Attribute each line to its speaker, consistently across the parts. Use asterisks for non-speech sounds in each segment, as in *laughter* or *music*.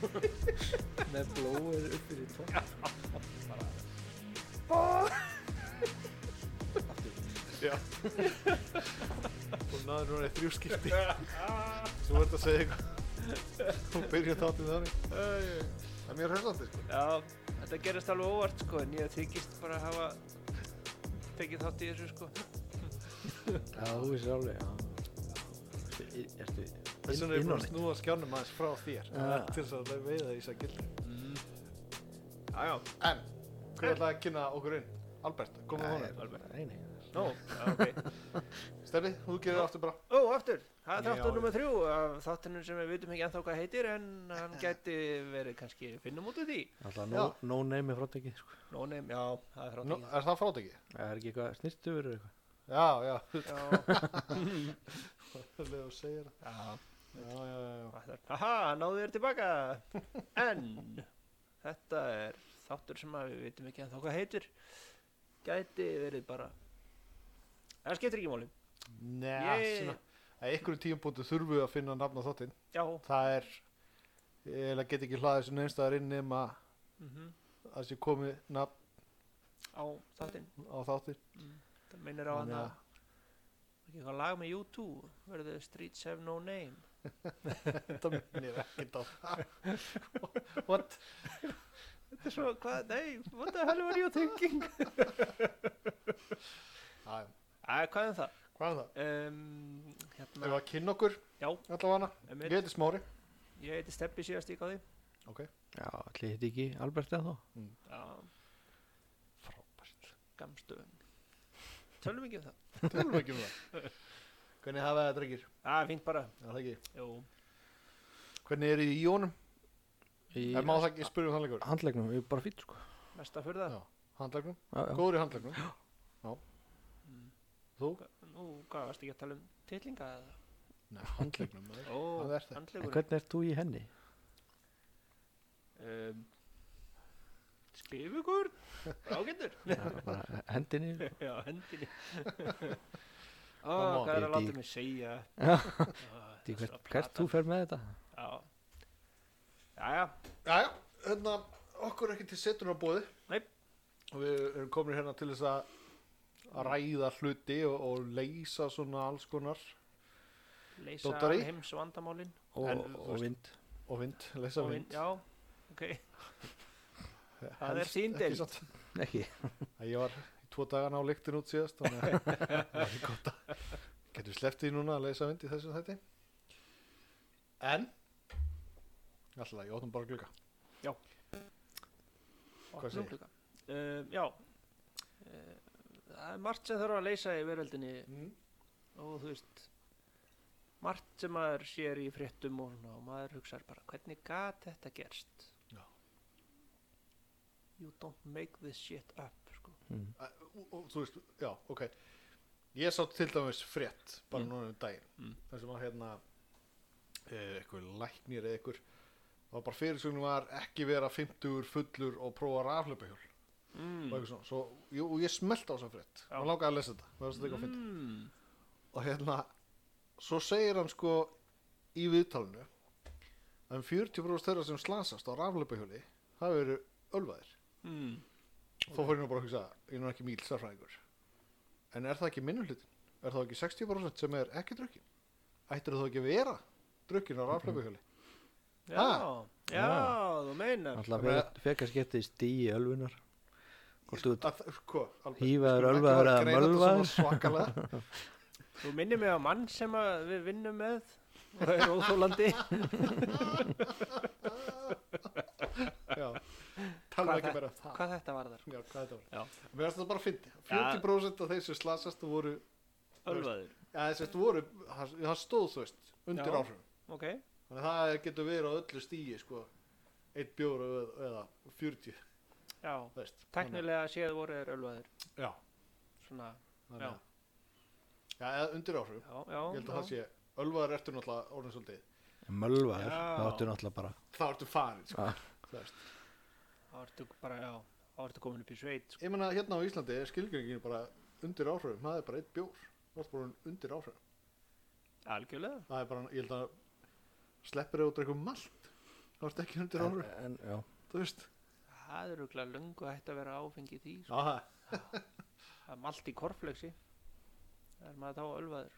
Speaker 1: með blóður upp fyrir tók
Speaker 2: Já Hún náður núna í þrjú skipti Svo verður að segja eitthvað Hún byrjar þáttið þannig Það er mjög hressandi sko
Speaker 1: Já, þetta gerist alveg óvart sko en ég þykist bara að hafa tekið þátt í þessu sko
Speaker 3: Já, þú veist alveg, já. Ertu
Speaker 2: Þess vegna er ég búin að snúa skjánum aðeins frá þér eh,
Speaker 3: Já.
Speaker 2: Til þess að veiða í sækildi
Speaker 1: mm.
Speaker 2: Jájá En, hver ætlaði að kynna okkur inn? Albert, komum honum
Speaker 1: alveg.
Speaker 3: Nei, nei.
Speaker 1: Nó, já, ok
Speaker 2: Steffi, þú gerir aftur bara
Speaker 1: Ó, aftur, það er
Speaker 2: Já.
Speaker 1: þáttur nummer þrjú af þáttunum sem við vitum ekki ennþá hvað heitir en *laughs* hann gæti verið kannski finnum út af því
Speaker 3: Alltaf no, no name er frátekið, sko.
Speaker 1: Nó, neym, já, það er
Speaker 2: Nú,
Speaker 1: þrátt
Speaker 2: Er það frátekið?
Speaker 3: Það er ekki eitthvað snirtuður eða eitthvað.
Speaker 2: Já, já
Speaker 1: Já,
Speaker 2: *laughs* Leðu að segja það
Speaker 1: já
Speaker 2: Já, já, já, já
Speaker 1: Ætlar, Aha, náðu þér *laughs* tilbaka En Þetta er þáttur sem að við vitum ekki en þá hvað heitir Gæti verið bara Það skiptir ekki máli
Speaker 2: Nei,
Speaker 1: Yay.
Speaker 2: svona Að einhverjum tíumbútu þurfum við að finna nafn á þáttinn
Speaker 1: Já
Speaker 2: Það er Ég eiginlega get ekki hlaðið sem neynstaðar inn nema
Speaker 1: mm
Speaker 2: að sé komið nafn
Speaker 1: Á þáttinn
Speaker 2: á þáttir
Speaker 1: Það meinir á hann
Speaker 2: Þannig
Speaker 1: Mm. að
Speaker 2: að-
Speaker 1: ekki eitthvað lag með U2 verður Streets Have No Name
Speaker 2: Þetta minnir ekkert á það *laughs* What?
Speaker 1: Þetta er svo, hvað, nei, what the hell were you thinking?
Speaker 2: Æ,
Speaker 1: *laughs* Æ, hvað er það?
Speaker 2: hvað er það?
Speaker 1: Um,
Speaker 2: Ef við
Speaker 1: hérna,
Speaker 2: að kynna okkur
Speaker 1: já,
Speaker 2: allavega
Speaker 1: um,
Speaker 2: Ég heiti Smári
Speaker 1: ég heiti Steppi síðast líka á því
Speaker 2: Ok
Speaker 3: Já, allir hitt ekki Albert eða þá.
Speaker 1: Já,
Speaker 2: Frábært
Speaker 1: gamstöðun Tölum ekki um það
Speaker 2: Tölum ekki um það *laughs* Hvernig hafa það drengir?
Speaker 1: Það er fínt bara
Speaker 2: Já, það ekki
Speaker 1: Jú.
Speaker 2: Hvernig er í jónum?
Speaker 3: Í
Speaker 2: Ef má það ekki spyrja um handlegur
Speaker 3: handlegnum, við erum bara fýtt, sko.
Speaker 1: Mest að fyrir það
Speaker 2: Já. Handlegnum?
Speaker 3: Já, já.
Speaker 2: Góður í handlegnum? Já
Speaker 1: Mm.
Speaker 2: Þú?
Speaker 1: Nú, hvað varst ekki að tala um titlinga eða?
Speaker 2: Nei, handlegnum maður.
Speaker 1: Ó,
Speaker 2: Hvað er það?
Speaker 3: En
Speaker 1: handlegur
Speaker 3: hvernig ert þú í *laughs* henni?
Speaker 1: um, Skrifugur Ágættur
Speaker 3: *laughs* Já, bara hendinni.
Speaker 1: Já,
Speaker 3: *laughs*
Speaker 1: hendinni Ó,
Speaker 2: Come on,
Speaker 1: hvað er að
Speaker 3: ég
Speaker 1: láta
Speaker 3: dýr.
Speaker 1: mig
Speaker 3: *laughs*
Speaker 1: segja
Speaker 3: Já,
Speaker 1: Ó,
Speaker 3: því
Speaker 1: þessa
Speaker 3: hvert, hvert
Speaker 1: plata.
Speaker 3: þú fer með þetta?
Speaker 1: Já Jæja,
Speaker 2: Jæja, hérna okkur er ekki til setunar bóði
Speaker 1: Nei.
Speaker 2: Og við erum komin hérna til þess að að ræða hluti og, og leysa svona alls konar
Speaker 1: leysa
Speaker 2: Dottari?
Speaker 1: heims vandamálin
Speaker 3: Og,
Speaker 2: En, þú
Speaker 3: og
Speaker 2: veist-
Speaker 3: vind.
Speaker 2: og vind, leysa vind
Speaker 1: Já, ok Það er þín deild.
Speaker 3: Ekki.
Speaker 2: Ég var í tvo dagana á lyktin út síðast þannig að
Speaker 1: *laughs*
Speaker 2: það er ekki gott að getur sleftið núna að leysa vind í þessu þætti En Alltaf, ég opnum bara glugga Hvað segir?
Speaker 1: Opnum glugga. Um, já, uh, það er margt sem þarf að leysa í veröldinni
Speaker 2: mm.
Speaker 1: og þú veist, margt sem maður sér í fréttum og, svona og maður hugsar bara, hvernig gat þetta gerst?
Speaker 2: Já.
Speaker 1: You don't make this shit up, sko.
Speaker 3: Mm.
Speaker 2: og, og, Þú veist, já, ok Ég sá til dæmis frétt bara
Speaker 1: Mm.
Speaker 2: núna um daginn
Speaker 1: Mm.
Speaker 2: þar sem var hérna eitthvað læknir eða eitthvað það var bara fyrirsögnum var ekki vera 50 fullur og prófa raflöpahjól og
Speaker 1: Mm.
Speaker 2: eitthvað svona, svo, jú, og ég smelt á þess að frétt
Speaker 1: Já.
Speaker 2: og langaði að lesa þetta, það var þetta eitthvað fyndið
Speaker 1: Mm.
Speaker 2: og hérna svo segir hann sko í viðtalinu að um 40% þeirra sem slasast á rafleipahjóli það eru ölvaðir
Speaker 1: Mm.
Speaker 2: okay. þá fór ég nú bara að hugsa, ég er nú ekki mýl sérfræðingur en er það ekki minnulutin? er það ekki 60% sem er ekki drukkin? ættir það ekki að vera drukkin á rafleipahjóli?
Speaker 1: Já,
Speaker 2: Ah.
Speaker 1: já,
Speaker 3: Ah.
Speaker 1: þú meinar.
Speaker 3: Alltaf
Speaker 2: Bara-
Speaker 3: fekar skiptið stíi ölvunar. Hvort þú ert
Speaker 2: sko, Albert,
Speaker 3: Hífaður,
Speaker 2: skulum ekki
Speaker 3: ölvaður
Speaker 2: fara að
Speaker 3: eða
Speaker 2: greina þetta svona
Speaker 3: mölvaður?
Speaker 2: svakalega
Speaker 1: Þú minnir mig á mann sem að við vinnum með og er óþólandi.
Speaker 2: já, talum
Speaker 1: Hvað
Speaker 2: ekki
Speaker 1: það-
Speaker 2: meira um það
Speaker 1: *laughs* Hvað þetta var þar?
Speaker 2: Já, hvað þetta var
Speaker 1: Já.
Speaker 2: Mér finnst það bara að fyndi 40% af þeir sem slasast voru
Speaker 1: Ölvaður.
Speaker 2: Já, þess að voru, það það stóð þú veist, undir
Speaker 1: Já.
Speaker 2: áhrifum.
Speaker 1: Ok,
Speaker 2: Þannig að það getur verið á öllu stíi, sko, eitt bjóra eða, eða 40,
Speaker 1: já.
Speaker 2: þú veist.
Speaker 1: Teknilega séð voru þeir ölvaður.
Speaker 2: Þannig að- Já,
Speaker 1: Svona,
Speaker 2: þannig að, já, eða undir áhrifum.
Speaker 1: já, já.
Speaker 2: Ég held
Speaker 1: já.
Speaker 2: að það sé, ölvaður ertu náttúrulega orðin svolítið.
Speaker 3: mölvaður,
Speaker 1: Já.
Speaker 3: þá áttu náttúrulega bara.
Speaker 2: Þá ertu farin, sko,
Speaker 3: Ah.
Speaker 2: þú veist.
Speaker 1: Það ertu bara, já, það ertu komin upp í sveit, sko.
Speaker 2: Ég meina, hérna á Íslandi er skilgjöngin bara undir áhrifum, það er bara eitt bjór. Það er bara orðin undir áhrifum.
Speaker 1: Algjörlega.
Speaker 2: Það er bara, ég held að, sleppir eða út eitthvað malt. Þú ert ekki
Speaker 1: Eh,
Speaker 2: undir
Speaker 3: en,
Speaker 2: áru,
Speaker 3: en, já,
Speaker 2: þú veist
Speaker 1: Það er auðvitað löngu að þetta vera áfengi í því sko.
Speaker 2: Aha,
Speaker 1: Það er malt í korflexi Það er maður þá ölvaður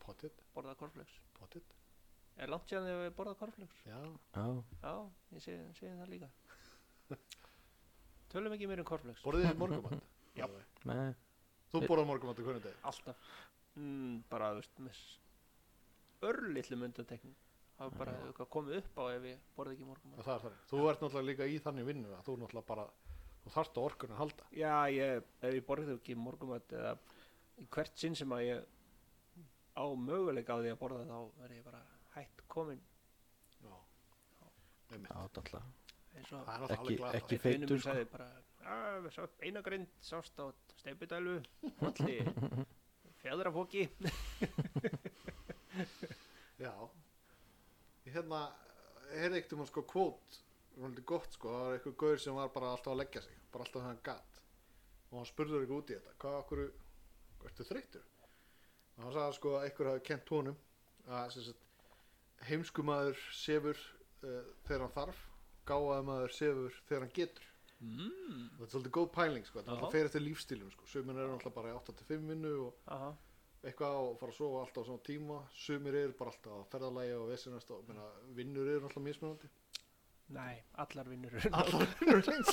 Speaker 2: pottit,
Speaker 1: borða korflex
Speaker 2: pottit
Speaker 1: Er langt séðan þegar við borða korflex?
Speaker 2: Já,
Speaker 3: já,
Speaker 1: Já, ég segi, segi það *laughs* líka Tölum ekki mér um korflex
Speaker 2: borðið þið morgumat
Speaker 1: Já.
Speaker 3: nei,
Speaker 2: Þú borðað morgumat á hvernig deg
Speaker 1: Alltaf mm, Bara, þú veist, með örlitlu myndatekning Það er bara eitthvað komið upp á ef ég borða ekki morgum
Speaker 2: Það er þannig, þú ert náttúrulega líka í þannig vinnu að þú náttúrulega bara, þú þarft á orkunni að halda
Speaker 1: Já, ég, ef ég borði ekki morgumat eða í hvert sinn sem að ég á möguleika á því að borða þá verð ég bara hætt komin
Speaker 2: Já, einmitt
Speaker 3: já, dalla
Speaker 1: eins og
Speaker 2: Það er náttúrulega
Speaker 3: Ekki-
Speaker 2: alveg glata
Speaker 3: ekki-
Speaker 1: einn vinur
Speaker 3: feitur,
Speaker 1: minn
Speaker 3: sko.
Speaker 1: sagði bara "Ah, sá beinagrind sást á steipudælu
Speaker 3: *laughs*
Speaker 1: allir fjadrafóki
Speaker 2: Já Ég hérna, heyrði ekkert um hann sko kvót Það var gott sko, það var eitthvað gaur sem var bara alltaf að leggja sig Bara alltaf þegar hann gat Og hann spurður eitthvað út í þetta Hvað okkur, ertu þreyttur? Og hann sagði sko að eitthvað hafi kent honum Að sem sagt, heimskumaður sefur uh, þegar hann þarf Gáfaði maður sefur þegar hann getur
Speaker 1: mm.
Speaker 2: Og Þetta er svolítið góð pæling sko, þetta er
Speaker 1: Já.
Speaker 2: alltaf fyrir eftir lífstílum sko Sumin eru alltaf bara í 8-5 vinnu og
Speaker 1: Aha,
Speaker 2: eitthvað og fara að sofa alltaf á svona tíma sumir eru bara alltaf að ferðalægi og vesinast og menna, vinnur eru alltaf *laughs* mismunandi
Speaker 1: Nei, allar vinnur
Speaker 2: allar vinnur eins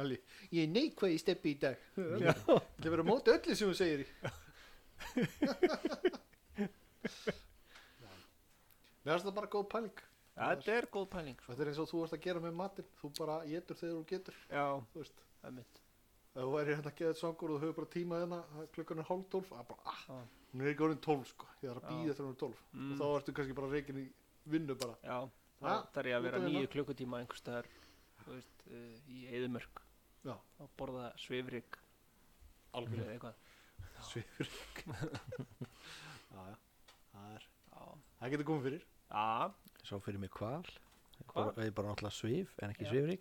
Speaker 2: Alli, ég er neikvæði steppi í *laughs* dag
Speaker 1: Já.
Speaker 2: það verður að móta öllu sem þú *laughs* segir í Já. mér finnst það bara góð pæling
Speaker 1: Þetta er góð pæling sko.
Speaker 2: þetta er eins og þú ert að gera með matinn þú bara getur þegar þú getur
Speaker 1: Já,
Speaker 2: þú veist
Speaker 1: það er mitt
Speaker 2: ef þú væri hérna að geða þetta sangur og þú hefur bara tíma hérna það- klukkan er hálf tólf að bara ah,
Speaker 1: Já.
Speaker 2: hún er ekki orðin tólf sko ég þarf að
Speaker 1: Já.
Speaker 2: býða þegar hún er tólf
Speaker 1: Mm.
Speaker 2: og þá ertu kannski bara reikin í vinnu bara
Speaker 1: Já,
Speaker 2: Ha?
Speaker 1: það þarf ég að vera
Speaker 2: Út að vinna?
Speaker 1: nýju klukkutíma einhverstaðar, þú veist, uh, í Eðumörk
Speaker 2: Já.
Speaker 1: og borða svifrik
Speaker 2: Algjörlega.
Speaker 1: eða eitthvað *laughs*
Speaker 2: svifur já já það
Speaker 1: Já,
Speaker 2: er það getur komið fyrir
Speaker 1: Já,
Speaker 3: sá fyrir mig hval Ég
Speaker 1: Hval?
Speaker 3: bara, ég bara náttúrulega svif, en ekki
Speaker 1: Já.
Speaker 3: svifrík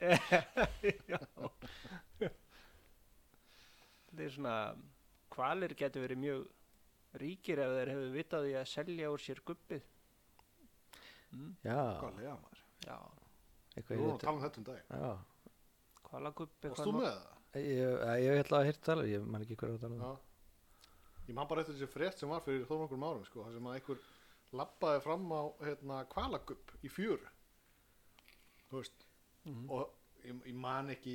Speaker 1: *laughs* þetta er svona hvalir getur verið mjög ríkir ef þeir hefur vitað því að selja úr sér gubbið mm,
Speaker 3: já,
Speaker 2: lega maður
Speaker 1: Já,
Speaker 3: eitthvað
Speaker 2: við
Speaker 3: í
Speaker 2: vorum að
Speaker 3: þetta
Speaker 2: tala um þetta um dag
Speaker 3: já,
Speaker 1: hvalagubbi
Speaker 2: varst þú með það?
Speaker 3: ég hef ætla að heyrta tala ég man ekki hver er að tala um
Speaker 2: já ég man bara eftir þessi frétt sem var fyrir þó nokkur árum sko þar sem að einhver labbaði fram á hérna kvalagubb í fjör þú veist
Speaker 1: Mhm.
Speaker 2: og ég, ég man ekki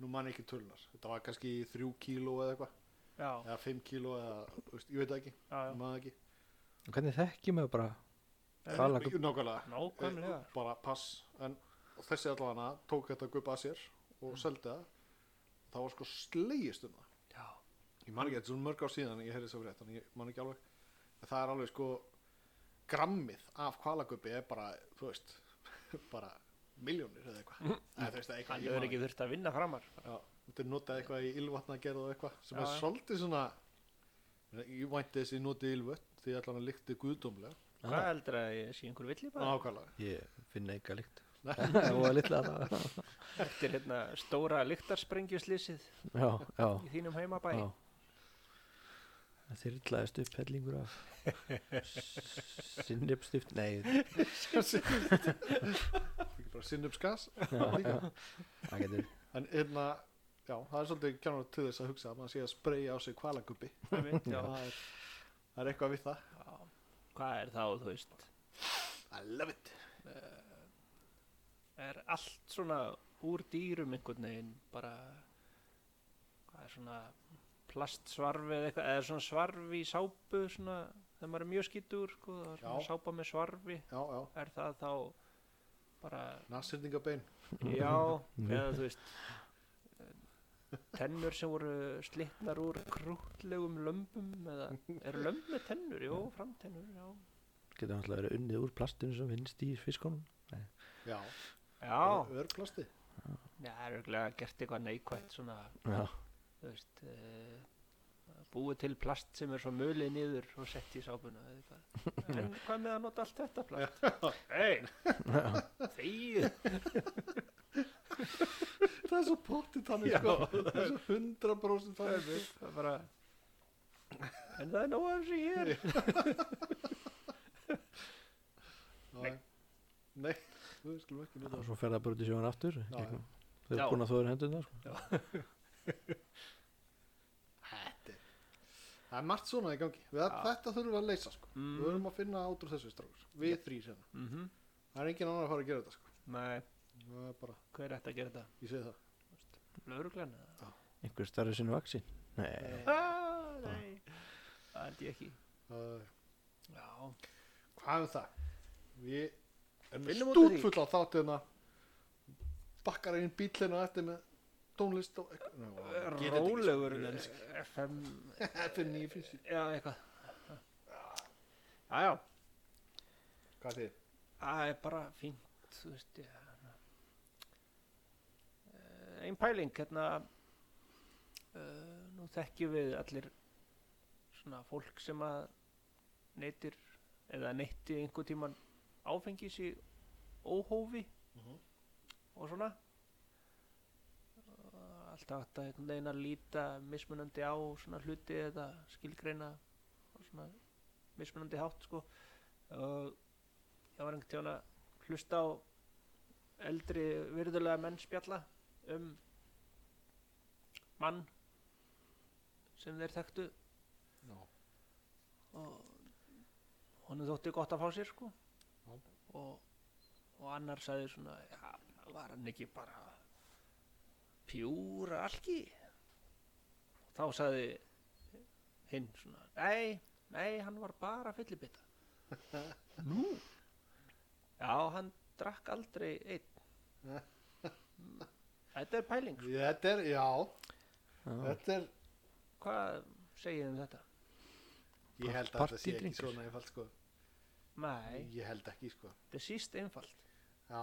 Speaker 2: nú man ég ekki tölunar þetta var kannski þrjú kíló eða eitthvað
Speaker 1: Já,
Speaker 2: eða 5 kíló eða, þú veist, ég veit það ekki,
Speaker 1: já, já,
Speaker 2: ég maður ekki
Speaker 3: það hvernig þekkjum við bara
Speaker 2: Eh,
Speaker 3: hvalagubbi?
Speaker 2: nákvæmlega,
Speaker 1: nákvæmlega
Speaker 2: Eh, bara pass en þessi allana tók þetta gupp að sér
Speaker 1: Mhm.
Speaker 2: og seldi það það var sko slegist um það
Speaker 1: Já,
Speaker 2: ég man ekki, þetta er svona mörg ár síðan en ég heyrði þess að frétt, en ég man ekki alveg en það er alveg sko grammið af kvalagubbi er bara, þú veist *laughs* bara miljónir eða eitthvað eða þú veist, það er eitthvað
Speaker 1: hann
Speaker 2: ég man
Speaker 1: hefur ekki þurft að vinna framar
Speaker 2: Já, þetta er notað eitthvað í ylvatna og eitthvað sem
Speaker 1: Já,
Speaker 2: er
Speaker 1: já.
Speaker 2: svolítið svona ég vænti þess að ég notið ylvött því allan að líkti guðdómlega
Speaker 1: Hvað heldur að ég sé einhver villi bara
Speaker 3: *laughs*
Speaker 2: ákvæmlega
Speaker 3: ég finna eitthvað líkt *laughs*
Speaker 2: Nei.
Speaker 3: það var litla það
Speaker 1: eftir hérna stóra lyktarsprengjuslisið
Speaker 3: já, já,
Speaker 1: í þínum heimabæ
Speaker 2: Ah.
Speaker 3: já það þyrlaðist upp hellingur af sinnipstift, nei
Speaker 2: ekki bara sinnupsgas
Speaker 3: já, það getur
Speaker 2: en hérna, já, það er svolítið kjánur til þess að hugsa að maður sé að spreyja á sig kvalagubbi
Speaker 1: einmitt, já.
Speaker 2: það er, það er eitthvað við það
Speaker 1: Já. Hvað er þá, þú veist
Speaker 2: I love it
Speaker 1: Eh, er allt svona úr dýrum einhvern veginn bara hvað er svona plastsvarfi eða eitthvað, eða svona svarfi í sápu svona, þegar maður er mjög skítur sko, það er svona
Speaker 2: Já.
Speaker 1: sápa með svarfi
Speaker 2: já, já,
Speaker 1: er það þá bara,
Speaker 2: nasendingabein
Speaker 1: já eða þú veist eh, tennur sem voru slitnar úr krútlegum lömbum eða eru lömb með tennur, jú, framtennur já,
Speaker 3: getur náttúrulega verið unnið úr plastinu sem finnst í fiskunum
Speaker 2: já,
Speaker 1: já,
Speaker 2: örplasti
Speaker 1: Já, það er örgulega gert eitthvað neikvætt svona
Speaker 3: já,
Speaker 1: þú veist uh, búið til plast sem er svo mölið niður og sett í sápuna eða eitthvað. *laughs* en hvað með að nota allt þetta plast hei þegið
Speaker 2: það er svo pottið þannig
Speaker 1: Já.
Speaker 2: sko það er svo 100% þannig sko.
Speaker 1: það er bara en það er nóg af þessu hér
Speaker 2: Nei, við skulum ekki nota
Speaker 3: og svo fer það bara út í sjóðan aftur
Speaker 2: Já,
Speaker 3: gegnum- þau
Speaker 1: Já.
Speaker 3: eru búin að þóður hendurna sko.
Speaker 2: Þetta er- Það er margt svona í gangi við,
Speaker 1: Já.
Speaker 2: Þetta þurfum við að leysa sko.
Speaker 1: Mm.
Speaker 2: Við verðum að finna át úr þessu strákur Við
Speaker 1: Yep.
Speaker 2: þrýr hérna
Speaker 1: mm
Speaker 2: Það er engin annar að fara að gera þetta sko.
Speaker 1: Nei,
Speaker 2: Það er bara,
Speaker 1: hver ætti að gera þetta?
Speaker 2: Ég segi það
Speaker 1: Lauruglan? eða?
Speaker 3: einhver starri sinu vaksin
Speaker 2: Eh,
Speaker 3: nei,
Speaker 1: Ah, nei, það held ég ekki
Speaker 2: uh,
Speaker 1: Já,
Speaker 2: Hvað um það? Við erum
Speaker 1: Finnum út úr því.
Speaker 2: stútfull á þáttu hérna Bakkar einn bíl hérna á eftir með tónlist og eitthvað Nei, vá, ég get þetta ekki, sko.
Speaker 1: rólegur
Speaker 2: Ég elska-
Speaker 1: FM,
Speaker 2: *laughs* Þetta er nýjum finnst
Speaker 1: já, eitthvað Já, já,
Speaker 2: Hvað þið?
Speaker 1: það er bara fínt þú veist ég hérna. Eh, ein pæling hérna uh, nú þekkjum við allir svona fólk sem að neytir eða neytti einhver tíman áfengis í óhófi
Speaker 2: Mhm.
Speaker 1: og svona Eh, alltaf hægt að einhvern veginn að líta mismunandi á svona hluti eða skilgreina á svona mismunandi hátt sko og ég var einhvern tíðan að hlusta á eldri virðulega menn spjalla um mann sem þeir þekktu
Speaker 2: Já,
Speaker 1: og honum þótti gott að fá sér sko
Speaker 2: Já.
Speaker 1: og, og annar sagði svona ja, var hann ekki bara pjúra alki og þá sagði hinn svona nei, nei, hann var bara
Speaker 2: *laughs*
Speaker 1: fyllibita nú já, hann drakk aldrei einn
Speaker 2: *laughs*
Speaker 1: Mm, þetta er pæling sko.
Speaker 2: þetta er, já,
Speaker 3: já,
Speaker 2: þetta er
Speaker 1: hvað segið þið um þetta?
Speaker 2: Ég held að þetta sé ekki
Speaker 3: Partydrinkur.
Speaker 2: svona einfalt sko.
Speaker 1: nei,
Speaker 2: Ég held ekki sko.
Speaker 1: þetta er síst einfalt
Speaker 2: Já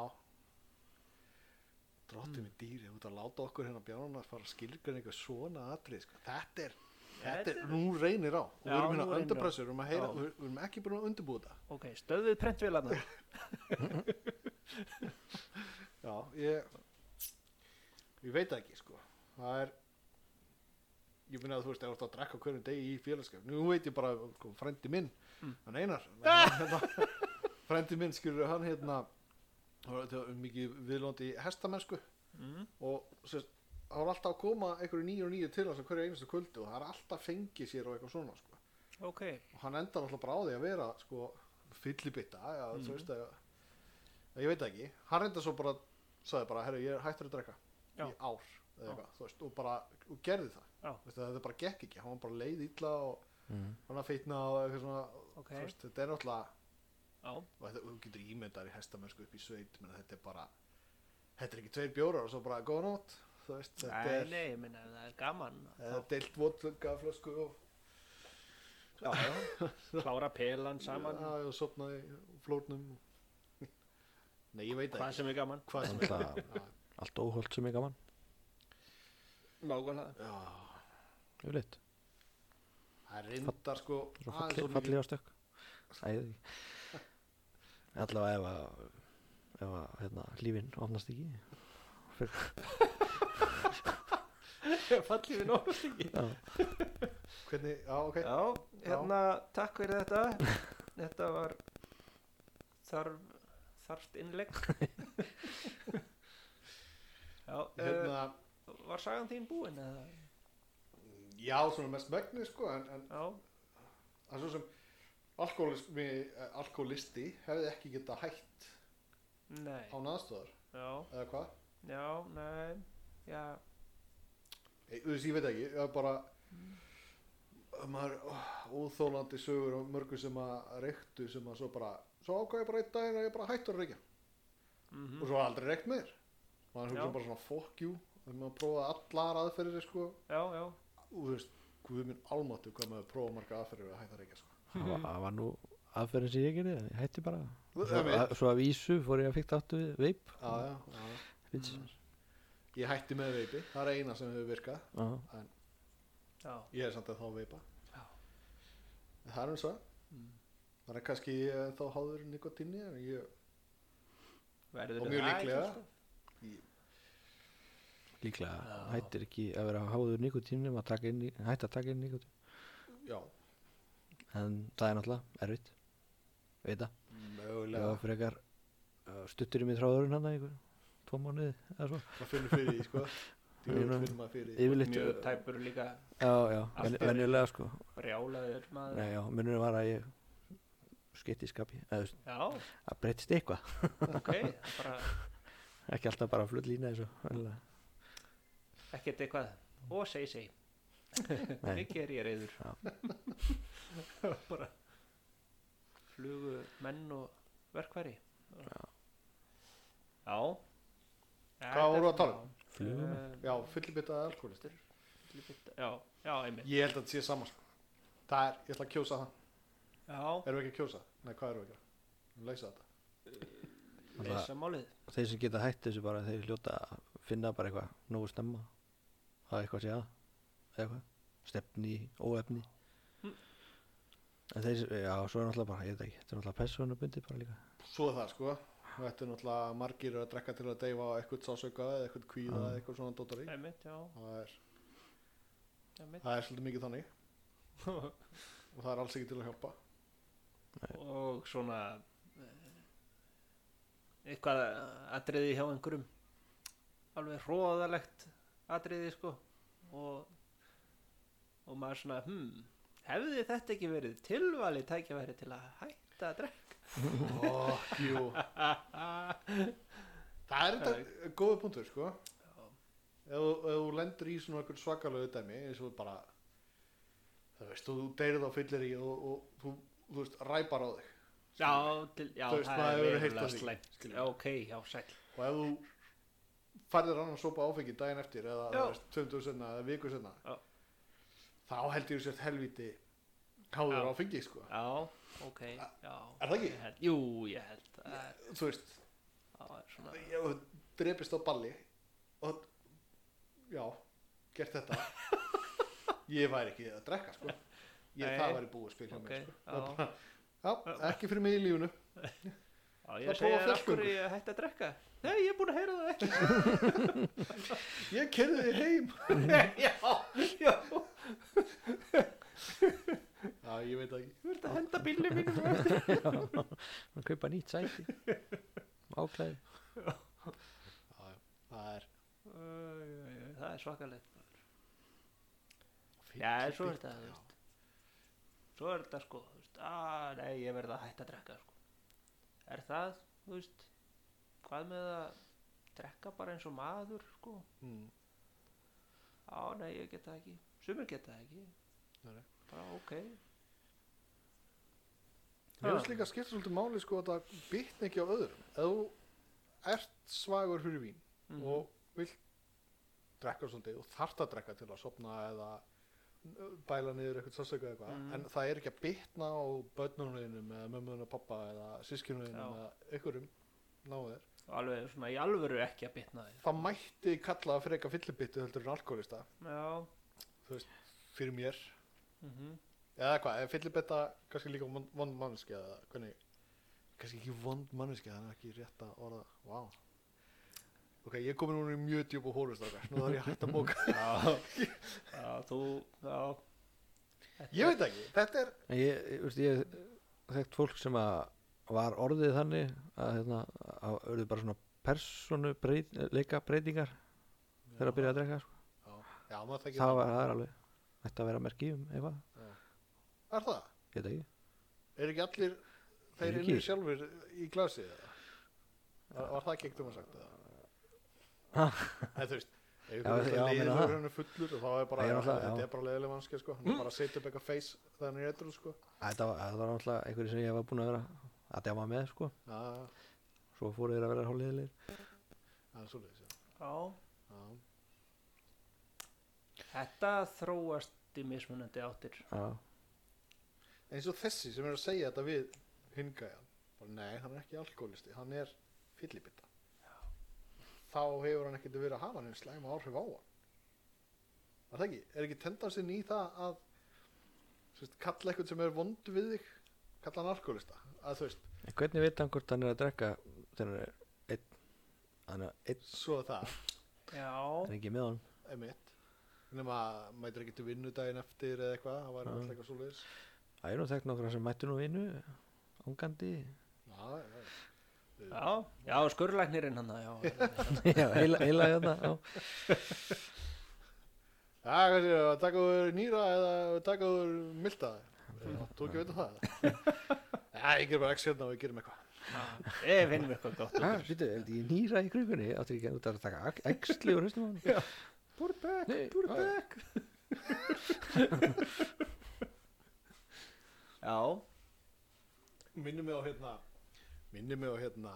Speaker 2: Drottum í dýri út að láta okkur hérna bjánum að fara að skilgjörn eitthvað svona atrið sko. Þetta er, þetta er, nú reynir á og
Speaker 1: Já,
Speaker 2: við erum
Speaker 1: nú
Speaker 2: hérna
Speaker 1: reynir á.
Speaker 2: undirpressur, við erum, að heyra,
Speaker 1: Já.
Speaker 2: við við erum ekki búin að undirbúa þetta
Speaker 1: ok, stöðuð prentvélarnar
Speaker 2: Já, ég ég veit það ekki sko það er ég finna að þú veist, ef þú ert að drekka á hverjum degi í félagskap nú veit ég bara, sko, frændi minn
Speaker 1: Mm.
Speaker 2: hann einar hann, hérna, frændi minn skilur hann hérna hann var- það var mikið viðlóndi hestamennsku
Speaker 1: mm.
Speaker 2: og sérst, það var alltaf að koma einhverju nýju og nýju til hans á hverju einustu kvöldu og það er alltaf fengið sér og eitthvað svona sko.
Speaker 1: ok,
Speaker 2: og hann endar alltaf bara á því að vera sko, fyllibitta ja,
Speaker 1: Mhm.
Speaker 2: þú veist að, að ég veit það ekki hann reyndar svo bara, sagði bara herru, ég er hættur að drekka
Speaker 1: Já.
Speaker 2: í ár
Speaker 1: Já.
Speaker 2: eða eitthvað, þú veist, og bara, og gerði það
Speaker 1: Já.
Speaker 2: Þú veist, að þetta bara gekk ekki, hann var bara leið illa og
Speaker 3: mm.
Speaker 2: hann að feitna og eitthvað svona
Speaker 1: Ok.
Speaker 2: þú veist, þetta er náttúrulega
Speaker 1: já
Speaker 2: og þetta, þú getur ímyndar í hestamennsku upp í sveit menn þetta er bara, þetta er ekki tveir bjórar og svo bara góða nótt þú veist, þetta
Speaker 1: Nei,
Speaker 2: er
Speaker 1: nei, ég minna, það er gaman
Speaker 2: eða deilt vodka flösku og
Speaker 1: Já, já, klára pelan saman
Speaker 2: Já, og sopnaði í flórnum *laughs* Nei, ég veit það
Speaker 1: Hvað sem er gaman
Speaker 2: ekki Hvað sem er
Speaker 3: Náttúrulega.
Speaker 2: Já,
Speaker 3: allt óholt sem er gaman
Speaker 1: Nákvæmlega
Speaker 2: já.
Speaker 3: yfirleitt,
Speaker 2: Það er reyndar sko
Speaker 3: svo
Speaker 2: aðeins
Speaker 3: falli,
Speaker 2: of mikið-
Speaker 3: falli á stökk æði allavega ef að ef að hérna, lífin ofnast ekki
Speaker 2: *laughs*
Speaker 1: Fallið við nógust ekki
Speaker 3: já,
Speaker 2: Hvernig, já, ok
Speaker 1: Já, hérna, takk fyrir þetta Þetta var þarf, þarft *laughs* innlegg Já, hérna.
Speaker 2: Hérna,
Speaker 1: var sagan þín búin eða?
Speaker 2: já, svona mest megni sko En, en
Speaker 1: Já,
Speaker 2: það er svo sem alkoholismi, eh, alkoholisti hefði ekki geta hætt
Speaker 1: nei,
Speaker 2: á naðstöðar
Speaker 1: já,
Speaker 2: Eða hvað?
Speaker 1: já, nei, já,
Speaker 2: Ég- Þú veist, ég veit ekki, það er bara maður ó, óþólandi sögur og mörgu sem að reyktu sem að svo bara, svo ákvað ég bara einn daginn að ég bara hættur að reykja
Speaker 1: mhm,
Speaker 2: og svo aldrei reykt meir maður
Speaker 1: Já.
Speaker 2: hugsa bara svona fuck you þegar maður prófaði allar aðferðir sko
Speaker 1: já, já
Speaker 2: og þú veist, guð minn almáttu hvað maður prófaði marga aðferðir að hætta að reykja sko.
Speaker 3: það var- það var nú aðferðin sem ég gerði ég hætti bara
Speaker 2: Þú-
Speaker 3: svo,
Speaker 2: það
Speaker 3: að, svo að vísu fór ég að fíkta áttu við veip
Speaker 2: já, já, já.
Speaker 3: vitsi
Speaker 2: ég hætti með veipi, það er eina sem hefur virkað
Speaker 3: já,
Speaker 1: Já,
Speaker 2: ég er samt að þá að veipa
Speaker 1: Já.
Speaker 2: En það er eins og það.
Speaker 1: Mm.
Speaker 2: það er kannski eh, þá háður nikotinni en ég,
Speaker 1: verður
Speaker 2: Og mjög
Speaker 1: það ekki,
Speaker 2: líklega.
Speaker 1: sko?
Speaker 2: ég,
Speaker 3: líklega
Speaker 1: Já.
Speaker 3: hættir ekki að vera háður nikotín nema að taka inn, í- hætta að taka inn nikotín
Speaker 2: já,
Speaker 3: en það er náttúrulega erfitt veit það, ég
Speaker 2: mögulega
Speaker 3: var frekar uh, stuttur í mig þráðurinn hann einhver, tvo mánuði eða svo
Speaker 2: maður finnur fyrir *laughs* því sko
Speaker 3: Ég-
Speaker 2: djúvill finnur maður fyrir því
Speaker 3: yfirleitt
Speaker 1: mjög
Speaker 3: uh,
Speaker 1: tæpur líka
Speaker 3: já, já,
Speaker 1: Allt
Speaker 3: ven,
Speaker 1: er-
Speaker 3: venjulega sko
Speaker 1: brjálaður maður
Speaker 3: Nei, já, munurinn var að ég skeitt í skapi, eða þú veist,
Speaker 1: já,
Speaker 3: að breytist eitthvað *laughs*
Speaker 1: ok bara
Speaker 3: ekki alltaf bara flutt lína þessu venjulega.
Speaker 1: ekkert eitthvað og segi segi,
Speaker 3: Nei,
Speaker 1: mikið er ég reyður
Speaker 3: Já.
Speaker 1: *laughs* bara flugu menn og verkværi já já
Speaker 2: Hvað voru að tala um?
Speaker 3: flugum
Speaker 2: já, fullbitað alkoholist
Speaker 1: Eh, já, já, einmitt
Speaker 2: ég held að þetta sé saman sko. það er, ég ætla að kjósa það
Speaker 1: já,
Speaker 2: erum við ekki að kjósa? nei, hvað erum við að gera? við erum að leysa þetta
Speaker 1: leysa málið
Speaker 3: þeir sem geta hætt þessu bara þeir hljóta að finna bara eitthvað nógu stemma það er eitthvað að segja eða eitthvað, stefni, óefni
Speaker 1: Mm.
Speaker 3: en þeir, já, svo er náttúrulega bara ég veit ekki, þetta er náttúrulega persónubundi bara *laughs* líka
Speaker 2: svo er það sko og þetta er náttúrulega margir eru að drekka til að deyfa á eitthvað sásauka eða eitthvað kvíða
Speaker 3: Já.
Speaker 2: eða eitthvað svona dótari
Speaker 1: einmitt, já,
Speaker 2: það er,
Speaker 1: einmitt
Speaker 2: það er svolítið mikið þannig og það er alls ekki til að hjálpa
Speaker 1: og svona eh, eitthvað atriði hjá einhverjum alveg hróðalegt atriði sko og, og maður svona hmm, hefði þetta ekki verið tilvalið tækjaværi til að hætta að
Speaker 2: oh, jú,
Speaker 1: drekka
Speaker 2: það er þetta góða punktur sko
Speaker 1: Já.
Speaker 2: ef þú- ef þú lendur í svona eitthvað svakalöðu dæmi eins og bara það veist, þú deyrið á fyllir í og, og þú, þú veist, ræpar á þig
Speaker 1: *laughs* já, til, já
Speaker 2: Þú veist,
Speaker 1: það er
Speaker 2: maður hefur heyrt
Speaker 1: verulega
Speaker 2: af því,
Speaker 1: slæmt
Speaker 2: skilur.
Speaker 1: já, ok, já, sæll
Speaker 2: og ef þú færðir annan sopa áfengi daginn eftir eða
Speaker 1: Já.
Speaker 2: þú veist, 20 senna eða viku senna
Speaker 1: Já.
Speaker 2: þá heldur þú sért helviti háður
Speaker 1: Já.
Speaker 2: áfengi sko
Speaker 1: já, ok, já
Speaker 2: Er það ekki?
Speaker 1: Ég held- Jú, ég held það er-
Speaker 2: þú veist,
Speaker 1: það er svona
Speaker 2: ef þú drepist á balli og já, gert
Speaker 1: *laughs*
Speaker 2: þetta ég væri ekki að drekka sko ég,
Speaker 1: Nei.
Speaker 2: það væri búið að spila
Speaker 1: ok,
Speaker 2: okay.
Speaker 1: já
Speaker 2: mér sko. já, ekki fyrir mig í lífunu
Speaker 1: Já, ég
Speaker 2: Það
Speaker 1: segi
Speaker 2: prófa
Speaker 1: þér af hverju
Speaker 2: fjallgöngu.
Speaker 1: ég hætti að drekka Nei, ég er búin að heyra það *laughs* ekki
Speaker 2: ég kerði þig
Speaker 1: *laughs*
Speaker 2: heim
Speaker 1: Já, já
Speaker 2: já, ég veit það ekki
Speaker 1: Þú ert að henda bílið mínum á eftir.
Speaker 3: að kaupa nýtt sæti áklæði
Speaker 2: já, já, það er
Speaker 1: Æ, æ, æ, Það er svakalegt Já, en svo er þetta, þú veist. Svo er þetta sko þú veist, Á, nei, ég verð að hætta að drekka sko. Er það, þú veist Hvað með að drekka bara eins og maður sko
Speaker 2: mm,
Speaker 1: Á, nei, ég get það ekki Sumir geta það ekki
Speaker 2: Nei, nei.
Speaker 1: Bara, ok Ah.
Speaker 2: Mér finnst líka að skipta svolítið máli sko að það bitni ekki á öðrum. Ef þú ert svagur fyrir vín
Speaker 1: Mhm.
Speaker 2: og vilt drekka svolítið og þarft að drekka til að sopna eða uh, bæla niður eitthvað sásöku eða eitthvað
Speaker 1: Mhm.
Speaker 2: en það er ekki að bitna á börnunum eða mömmunum og pappa eða sískinunum
Speaker 1: Já.
Speaker 2: eða einhverjum náður.
Speaker 1: Alveg svona í alvöru ekki að bitna þér
Speaker 2: Það mætti kalla það fyrir eitthvað fyllibittu heldur en alkoholista
Speaker 1: Já
Speaker 2: fyrir mér
Speaker 1: mhm
Speaker 2: eða hvað, er fyllibetta kannski líka vond vond manneskja eða hvernig, kannski ekki vond manneskja þannig ekki rétt að orða, vá ok, ég er komin núna í mjög djúpa hólustakar, nú þarf ég að hætta að bóka
Speaker 1: já, já, þú já,
Speaker 2: ég veit ekki, þetta er
Speaker 3: En ég, ég, veist, ég hef þekkt fólk sem að var orðið þannig að hérna, að auðvitað bara svona personu breyt, leika breytingar þegar að byrja að drekka sko.
Speaker 2: já, maður þekki
Speaker 3: það var það er alveg ætti að vera merki um eitthvað,
Speaker 2: er það,
Speaker 3: ég veit ekki
Speaker 2: er ekki allir
Speaker 3: Er
Speaker 2: þeir
Speaker 3: ekki?
Speaker 2: inni sjálfur í glasi eða var, var það ekki ekkert um að sagt eða
Speaker 3: Ha?
Speaker 2: Nei,
Speaker 3: *laughs*
Speaker 2: þú veist Ef
Speaker 3: Já,
Speaker 2: þú veist að
Speaker 3: já, meina
Speaker 2: leiðilegur
Speaker 3: það.
Speaker 2: hann er fullur og þá er bara,
Speaker 3: Nei, ég er náttúrulega-
Speaker 2: þetta
Speaker 3: já.
Speaker 2: er bara leiðileg mannskja sko, hann er
Speaker 3: *laughs*
Speaker 2: bara að setja upp eitthvað face þegar hann er eitthvað sko.
Speaker 3: Æ, þetta var, það var náttúrulega einhverju sem ég hef búin að vera að djama með sko,
Speaker 2: Já, já,
Speaker 3: svo fóru þeir að vera hálfleðilegir
Speaker 2: það er svoleiðis, já.
Speaker 1: já,
Speaker 2: Já.
Speaker 1: þetta þróast í mismunandi áttir
Speaker 3: já,
Speaker 2: eins og þessi sem er að segja þetta við hingæjan bara nei, hann er ekki alkoholisti, hann er fyllibitta þá hefur hann ekkert verið að hafa hann slæma áhrif á hann er það ekki, er ekki tendansinn í það að þú veist, kalla eitthvað sem er vond við þig kalla hann alkoholista að þú veist,
Speaker 3: en hvernig veit hann hvort hann er að drekka þegar hann er einn hann er einn,
Speaker 2: svo er það,
Speaker 1: já,
Speaker 3: hann er ekki með hann
Speaker 2: emitt nema að mætir ekki til vinnu daginn eftir eða eitthvað, það var
Speaker 3: Já.
Speaker 2: alltaf eitthvað svoleiðis
Speaker 3: það er nú þekkt nokkra sem mættu nú vinnu angandi
Speaker 2: já, já, já.
Speaker 1: Já, já, skurrlæknirinn hann já,
Speaker 3: já, heila, heila hérna já.
Speaker 2: Já, hvað séu, að taka úr nýra eða taka úr milda Eh, Tók ég veit um það *laughs* Já, ég gerum bara x hérna og ég gerum eitthvað
Speaker 1: Ég finnum eitthvað gott
Speaker 3: ah, sýttu, er því nýra í krukunni áttu ekki út að taka æxli og hristum á hann
Speaker 2: Púr bekk,
Speaker 3: Nei, ah,
Speaker 2: púr
Speaker 3: já, já.
Speaker 2: bekk
Speaker 1: Já,
Speaker 2: Minnum mig á hérna Minnum mig á hérna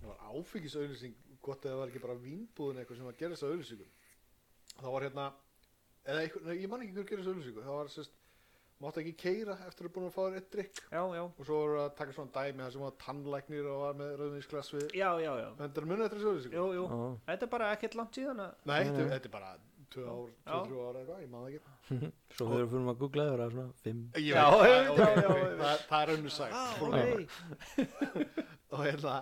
Speaker 2: Það var áfengisauðlýsing Gott eða það var ekki bara vínbúðin eitthvað sem var að gera þess að auðlýsingum Það var hérna Eða eitthvað, nei, ég man ekki hver gera þess að auðlýsingu Það var sérst, mátt ekki keira eftir að búin að fá þér eitt drikk
Speaker 1: já, já
Speaker 2: Og svo voru að taka svona dæmi Það sem var tannlæknir og var með rauðinsglas við
Speaker 1: Já, já, já,
Speaker 2: En það er munið eftir þess að auðlýsingu
Speaker 1: jú, jú
Speaker 3: Já.
Speaker 1: Þetta er bara ekkert langt síðan að
Speaker 2: Nei,
Speaker 3: Nei,
Speaker 2: þetta
Speaker 3: nei.
Speaker 2: þetta er bara 2 ár, 2-3 ár eitthvað, ég maður ekki
Speaker 3: svo þegar við fyrir að googla það er það svona fimm
Speaker 2: Ég
Speaker 1: Já, já,
Speaker 2: veit, ok,
Speaker 1: já,
Speaker 2: ok,
Speaker 1: já, já.
Speaker 2: það- Það er önnur sætt
Speaker 1: Já, ok
Speaker 2: og hérna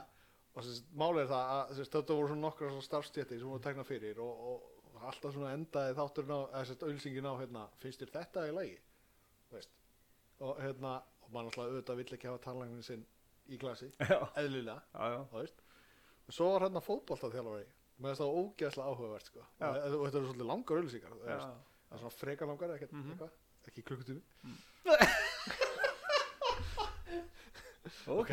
Speaker 2: og sérst, málið er það að sérst, þetta voru svona nokkra svona starfstjætti sem voru tekna fyrir og, og alltaf svona endaði þátturinn á eða sérst, auðlýsingin á hérna, finnst þér þetta í lagi Þú veist og hérna, og mann alltaf auðvitað vill ekki hafa tannlæknin sinn í glasi,
Speaker 1: Já,
Speaker 2: eðlilega
Speaker 1: já, já
Speaker 2: þú veist og svo var hérna fótboltaþjálfari með þess að ógeðslega áhugavert sko.
Speaker 1: Já.
Speaker 2: og, og þetta eru svolítið langar auðlýsingar þú
Speaker 1: Já,
Speaker 2: veist. það er svona frekar langar ekkert,
Speaker 1: Mhm.
Speaker 2: eitthvað, ekki klukkutími
Speaker 1: ok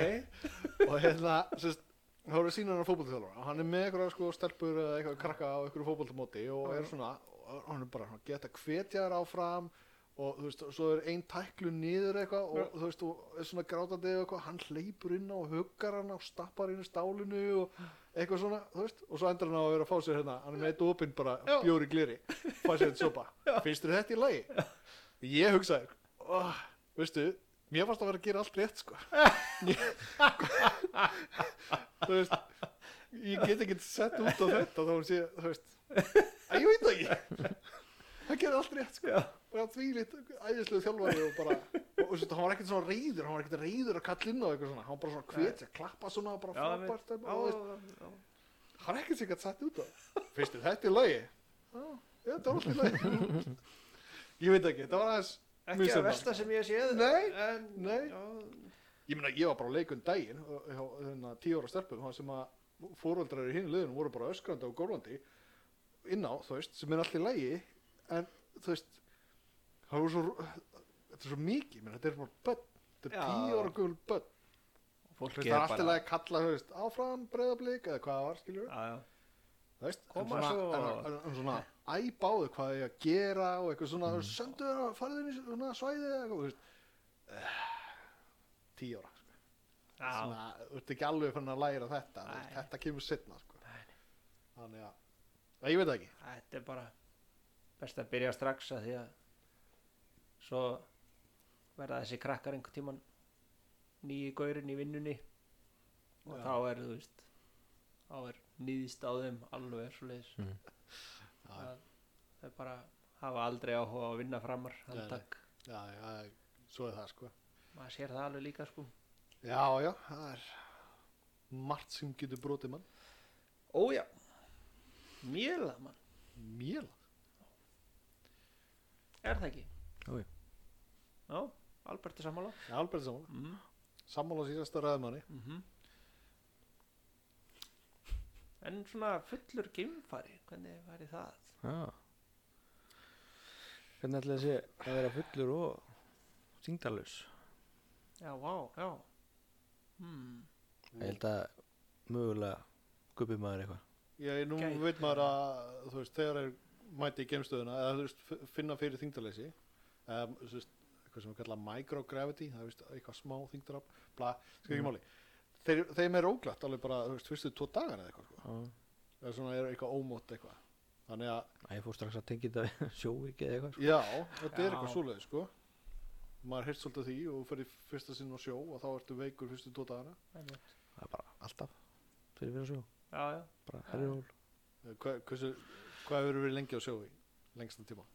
Speaker 2: og hérna sérst, þá eru sína hann fótboltaþjálfara hann er með eitthvað sko, stelpur eða eitthvað krakka á eitthvað fótboltamóti og er svona og hann er bara svona, geta hvetja þær áfram og þú veist, og svo er ein tæklu niður eitthvað og þú veist, og er svona grátandi og eitthvað, hann hleypur inn á og huggar hann og stappar inn í stálinu og eitthvað svona, þú veist, og svo endur hann á að vera að fá sér hérna, hann er með eitt opinn bara
Speaker 1: Já.
Speaker 2: bjóri gliri, fá sér þetta sopa finnst þér þetta í lagi? Ég hugsaði, oh, veistu mér fannst að vera að gera allt rétt, sko þú veist ég get ekki sett út á þetta þá hún sé, þú veist að ég veit það ekki það gerði allt rétt sko
Speaker 1: Já.
Speaker 2: bara þvílitt, æðislega þjálfari og bara, og þú veist, hann var ekkert svona reyður hann var ekkert reyður að kalla inn á eitthvað svona hann var bara svona hvetja, klappa svona og bara
Speaker 1: Já, það
Speaker 2: frábært hérna,
Speaker 1: Já,
Speaker 2: og þú veist,
Speaker 1: já, já.
Speaker 2: hann er ekkert sér gætt sett út á það. finnst þér þetta í lagi? já, þetta er alltaf í lagi
Speaker 1: *laughs*
Speaker 2: ég veit ekki, þetta var aðeins
Speaker 1: Ekki
Speaker 2: Mjög
Speaker 1: að
Speaker 2: sjaldan.
Speaker 1: versta sem ég séð
Speaker 2: Nei,
Speaker 1: en,
Speaker 2: nei.
Speaker 1: já,
Speaker 2: ég meina ég var bara á leikun daginn og- hjá hérna, tíu ára stelpum þar sem að fóreldrar í hinn liðunum voru bara öskrandi og gólandi inn á þú veist sem er allir lægi en þú veist það voru svo þetta er svo mikið ég meina, þetta er bara börn þetta er
Speaker 1: Já.
Speaker 2: tíu ára gömul börn Þú
Speaker 1: Fólk
Speaker 2: veist, það er alltaf að kalla þú veist áfram breyðablík eða hvað það var skiljur
Speaker 1: Já, já
Speaker 2: þú veist en
Speaker 1: Koma
Speaker 2: svona-
Speaker 1: svo.
Speaker 2: en- en- en svona æbáðu hvað ég að gera og eitthvað svona mm. söndu þér að farðu inn í svona svæði eða eitthvað þú veist tíu ára
Speaker 1: Já,
Speaker 2: svona, þú ert ekki alveg fann að læra þetta þú
Speaker 1: Nei.
Speaker 2: veist, þetta kemur setna sko. þannig að, að ég veit það ekki
Speaker 1: þetta er bara best að byrja strax að því að svo verða þessi krakkar einhvern tíman nýji gaurinn í vinnunni og
Speaker 2: Já.
Speaker 1: þá er þú veist þá er nýðist á þeim alveg svo leiðis
Speaker 3: Mm.
Speaker 2: Já.
Speaker 1: þau bara hafa aldrei áhuga á að vinna framar
Speaker 2: Nei, nei.
Speaker 1: handtak,
Speaker 2: já, já, svo er það sko
Speaker 1: maður sér það alveg líka sko
Speaker 2: já, já, það er margt sem getur brotið mann
Speaker 1: ójá, mjöla mann
Speaker 2: mjöl
Speaker 1: er það ekki?
Speaker 3: Jú, jú.
Speaker 1: já, Albert er sammála
Speaker 2: já, alveg sammála,
Speaker 1: mm.
Speaker 2: sammála síðasta ræðmanni
Speaker 1: Mm En svona fullur geimfari, hvernig væri það?
Speaker 3: já hvernig ætla þessi að vera fullur og syngdalus
Speaker 1: Já, vá, já hmm.
Speaker 3: ég held að mögulega gubbi maður eitthvað
Speaker 2: ég, nú
Speaker 1: Gæti.
Speaker 2: veit maður að þú veist, þegar er mæti í gemstöðuna eða þú veist, f- finna fyrir þingdarleysi eða þú veist, eitthvað sem við kalla microgravity, það er veist, eitthvað smá þingdarab bla, skil ekki máli þeir, þeim er óglætt alveg bara, þú veist, fyrstu tvo dagana eða eitthvað sko.
Speaker 3: Já.
Speaker 2: eða svona er eitthvað ómótt eitthvað þannig að,
Speaker 3: að ég fór strax að tengja þetta við *laughs* sjóvík eða eitthvað sko.
Speaker 2: já, þetta er
Speaker 1: Já.
Speaker 2: eitthvað svoleið sko. maður heyrst svolítið af því og fyrir fyrsta sinn á sjó og þá ertu veikur fyrstu tvo dagana
Speaker 1: einmitt.
Speaker 3: það er bara alltaf fyrir fyrir sjó
Speaker 1: Já, já,
Speaker 3: bara herjól
Speaker 2: Eh, Hva, hversu, hvað hefur verið lengi á sjó í lengstan tíma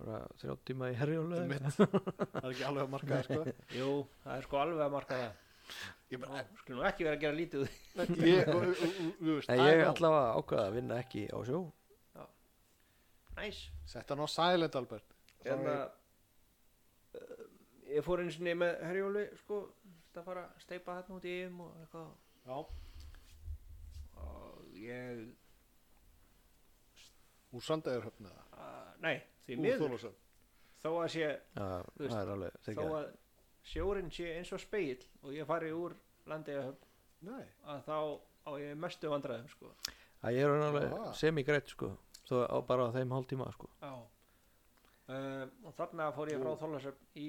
Speaker 3: bara þrjá tíma í herjól eða
Speaker 2: Einmitt. *laughs*
Speaker 3: eitthvað.
Speaker 2: það er ekki alveg að marka sko.
Speaker 1: *laughs* jú, það er sko alveg að marka það
Speaker 2: ég, bara,
Speaker 1: Ó, Skulum ekki vera að gera lítið úr því
Speaker 2: ég, og- og- og- þú veist,
Speaker 3: Nei,
Speaker 2: I
Speaker 3: ég
Speaker 2: know.
Speaker 3: allavega ákvaða að vinna ekki á sjó
Speaker 1: Næs
Speaker 2: Sett hann á silent Albert
Speaker 1: eh, Hérna, um, Ég fór einu sinni með Herjóli sko, að fara að steipa þarna út í um og eitthvað
Speaker 2: já,
Speaker 1: og ég,
Speaker 2: úr Sandæðarhöfn eða
Speaker 1: að, ah, nei, því
Speaker 2: úr
Speaker 1: miður
Speaker 2: Þólasöfn
Speaker 1: þó að sé,
Speaker 3: Já,
Speaker 1: Þú veist,
Speaker 3: það er alveg
Speaker 1: þó
Speaker 3: þykja
Speaker 1: að sjórin sé eins og speil og ég fari úr landið
Speaker 2: nei,
Speaker 1: að þá á ég í mestu vandræðum sko
Speaker 3: Það ég er
Speaker 2: Aha.
Speaker 3: alveg semigrætt sko Þó á bara á þeim hálftíma sko
Speaker 1: Já um, Og þarna fór ég frá
Speaker 2: Ú.
Speaker 1: Þólasöfn í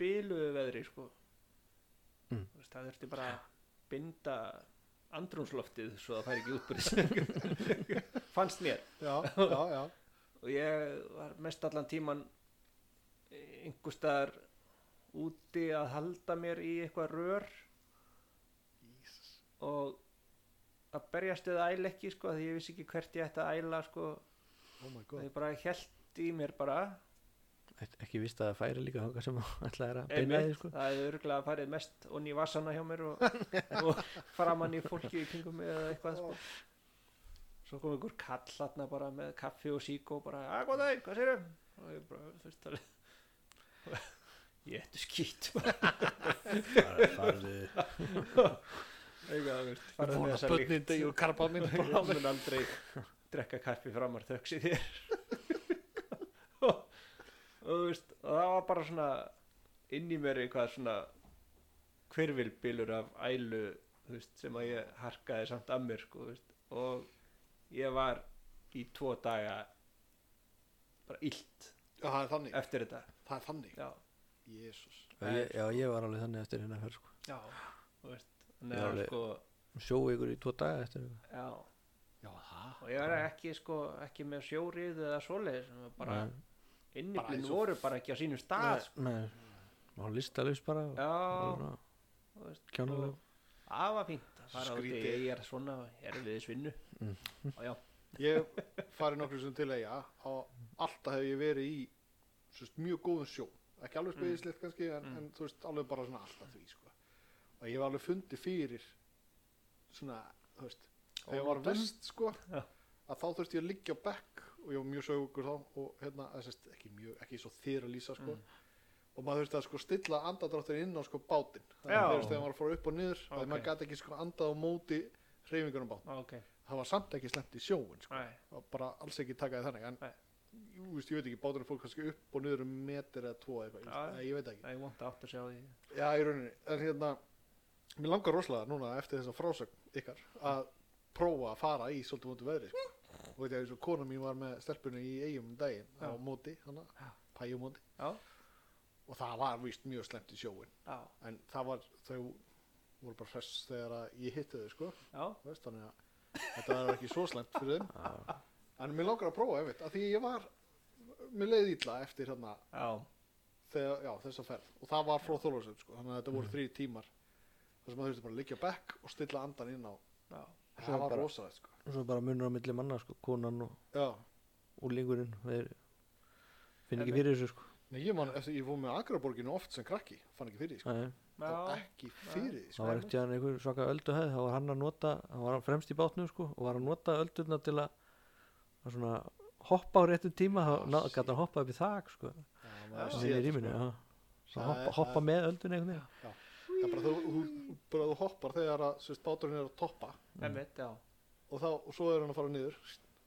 Speaker 1: byluðu veðri sko
Speaker 3: Mm.
Speaker 1: Þú veist, Það þurfti bara að binda andrúnsloftið svo það færi ekki
Speaker 3: *laughs*
Speaker 1: útbyrðis Fannst mér
Speaker 2: já, já, já
Speaker 1: og ég var mest allan tíman einhver staðar úti að halda mér í eitthvað rör
Speaker 2: Jesus.
Speaker 1: og að berjast við æl ekki sko því ég vissi ekki hvert ég ætti að æla sko
Speaker 2: oh my
Speaker 1: og
Speaker 2: god
Speaker 1: ég bara held í mér bara
Speaker 3: Ek- Ekki víst að það færi líka þangað sem *laughs* alltaf er að beina því
Speaker 1: Einmitt,
Speaker 3: sko
Speaker 1: það hefði örgulega farið mest onni í vassana hjá mér og, og framann í fólki í kringum mig eða eitthvað sko. svo kom einhver kall þarna bara með kaffi og sík og bara að góð þeim, hvað sérum og ég bara, þú veist það *laughs* ég ættu skýt
Speaker 3: Farðu
Speaker 1: eitthvað, þú veist, farið með
Speaker 2: Vona
Speaker 1: þessa líkt
Speaker 2: bönnin degi og karpa minn
Speaker 1: bara mun aldrei drekka kaffi framar þöks í þér og, og þú veist og það var bara svona inn í mér eitthvað svona hverfilbílur af ælu þú veist, sem að ég harkaði samt að mér sko, þú veist, og ég var í tvo daga bara illt
Speaker 2: Já, það er þannig,
Speaker 1: eftir þetta
Speaker 2: það er þannig
Speaker 1: já,
Speaker 2: Jesus
Speaker 3: Já, ég- Já, ég var alveg þannig eftir hérna fyrr sko
Speaker 1: já þú veist, þannig að
Speaker 3: Já,
Speaker 1: sko
Speaker 3: Sjóu ykkur í tvo daga eftir hérna
Speaker 1: já,
Speaker 2: Já, það
Speaker 1: og ég var ekki sko ekki með sjórið eða svoleiðis sem var bara
Speaker 2: Bara eins
Speaker 1: inniblinn
Speaker 2: og-
Speaker 1: voru bara ekki á sínum stað sko.
Speaker 3: Nei, má listalaus bara og-
Speaker 1: já,
Speaker 3: og-
Speaker 1: þú veist,
Speaker 3: Kjánaleg
Speaker 1: það var fínt að fara út í
Speaker 2: Skrítið.
Speaker 1: eigjar svona erfiðis vinnu
Speaker 3: Mm.
Speaker 1: og já,
Speaker 2: Ég fari nokkru sem til eiga og alltaf hef ég verið í sérst, mjög góðum sjó ekki alveg speyðislegt kannski en,
Speaker 1: Mm.
Speaker 2: en þú veist alveg bara svona alltaf því sko. og ég hef alveg fundið fyrir svona þú veist þegar ég var
Speaker 1: Ónotum.
Speaker 2: vest sko
Speaker 1: Já.
Speaker 2: að þá þurfti ég að liggja á bekk og ég var mjög sögur þá og hérna eða sérst, ekki, mjög, ekki svo þýr að lýsa
Speaker 1: Mm.
Speaker 2: sko og maður þurfti að sko stilla andadráttir inn á sko bátinn þannig
Speaker 1: Já.
Speaker 2: að þegar maður var að fara upp og niður okay.
Speaker 1: Ok.
Speaker 2: maður gæti ekki sko andað á móti hreyfingunum bát
Speaker 1: ok
Speaker 2: það var samt ekki slemt í sjóin sko
Speaker 1: Æ,
Speaker 2: og bara alls ekki taka því þannig en
Speaker 1: Nei.
Speaker 2: jú, veist, ég veit ekki, báturinn fór kannski upp og niður um metri eða tvo eða
Speaker 1: Já,
Speaker 2: eitthvað, ég, ég veit ekki
Speaker 1: það er vont að átt að sjá því
Speaker 2: já, í rauninni, en hérna mér langar rosalega núna eftir þessa frásögn ykkar að prófa að fara í svolítið móti veðri sko. og veit ég, eins og kona mín var með stelpunni í eigum um daginn á
Speaker 1: Já.
Speaker 2: móti, hana,
Speaker 1: Já.
Speaker 2: pæjumóti
Speaker 1: já,
Speaker 2: og það var víst mjög slemt í sjóin
Speaker 1: já,
Speaker 2: en það var, þau voru bara hress þegar að ég hitti þau sko,
Speaker 1: já,
Speaker 2: Þú veist, þannig að þetta er ekki svo slemt fyrir þeim En mér langar að prófa, einmitt, að því ég var, mér leiði illa eftir hérna,
Speaker 1: já,
Speaker 2: þegar, já, þessa ferð. Og það var frá Þólasöfn, sko, þannig að þetta
Speaker 3: Mm.
Speaker 2: voru þrý tímar. þar sem maður þurfti bara að liggja á bekk og stilla andan inn á.
Speaker 1: já.
Speaker 3: Svo
Speaker 2: Það var
Speaker 3: bara-
Speaker 2: rosalegt, sko.
Speaker 3: og svo bara munur á milli manna sko, konan og
Speaker 2: Já.
Speaker 3: úlingurinn þeir finn ekki
Speaker 1: Einmitt.
Speaker 3: fyrir þessu sko
Speaker 2: Nei, ég man, eftir, ég fór með Akraborginu oft sem krakki, fann ekki fyrir því, sko.
Speaker 3: Nei,
Speaker 2: Það
Speaker 1: já.
Speaker 2: var ekki fyrir því, sko.
Speaker 3: það var ekkert hann einhver svaka öldu hefð þá var hann að nota, hann var fremst í bátnum sko og var að nota öldurna til að að svona hoppa á réttum tíma
Speaker 2: Ah,
Speaker 3: þá
Speaker 2: shit.
Speaker 3: gæti hann hoppa upp í þak sko
Speaker 2: Já,
Speaker 1: Já.
Speaker 2: maður sér
Speaker 3: sem er
Speaker 2: þetta,
Speaker 3: í rýminu,
Speaker 2: sko.
Speaker 3: já
Speaker 2: Það
Speaker 3: Svo hoppa,
Speaker 2: er-
Speaker 3: hoppa með öldun einhvern veginn
Speaker 2: Það er bara, þú, þú, bara þú hoppar þegar að, sérst, báturinn er að toppa
Speaker 1: Einmitt, já.
Speaker 2: og þá, og svo er hann að fara niður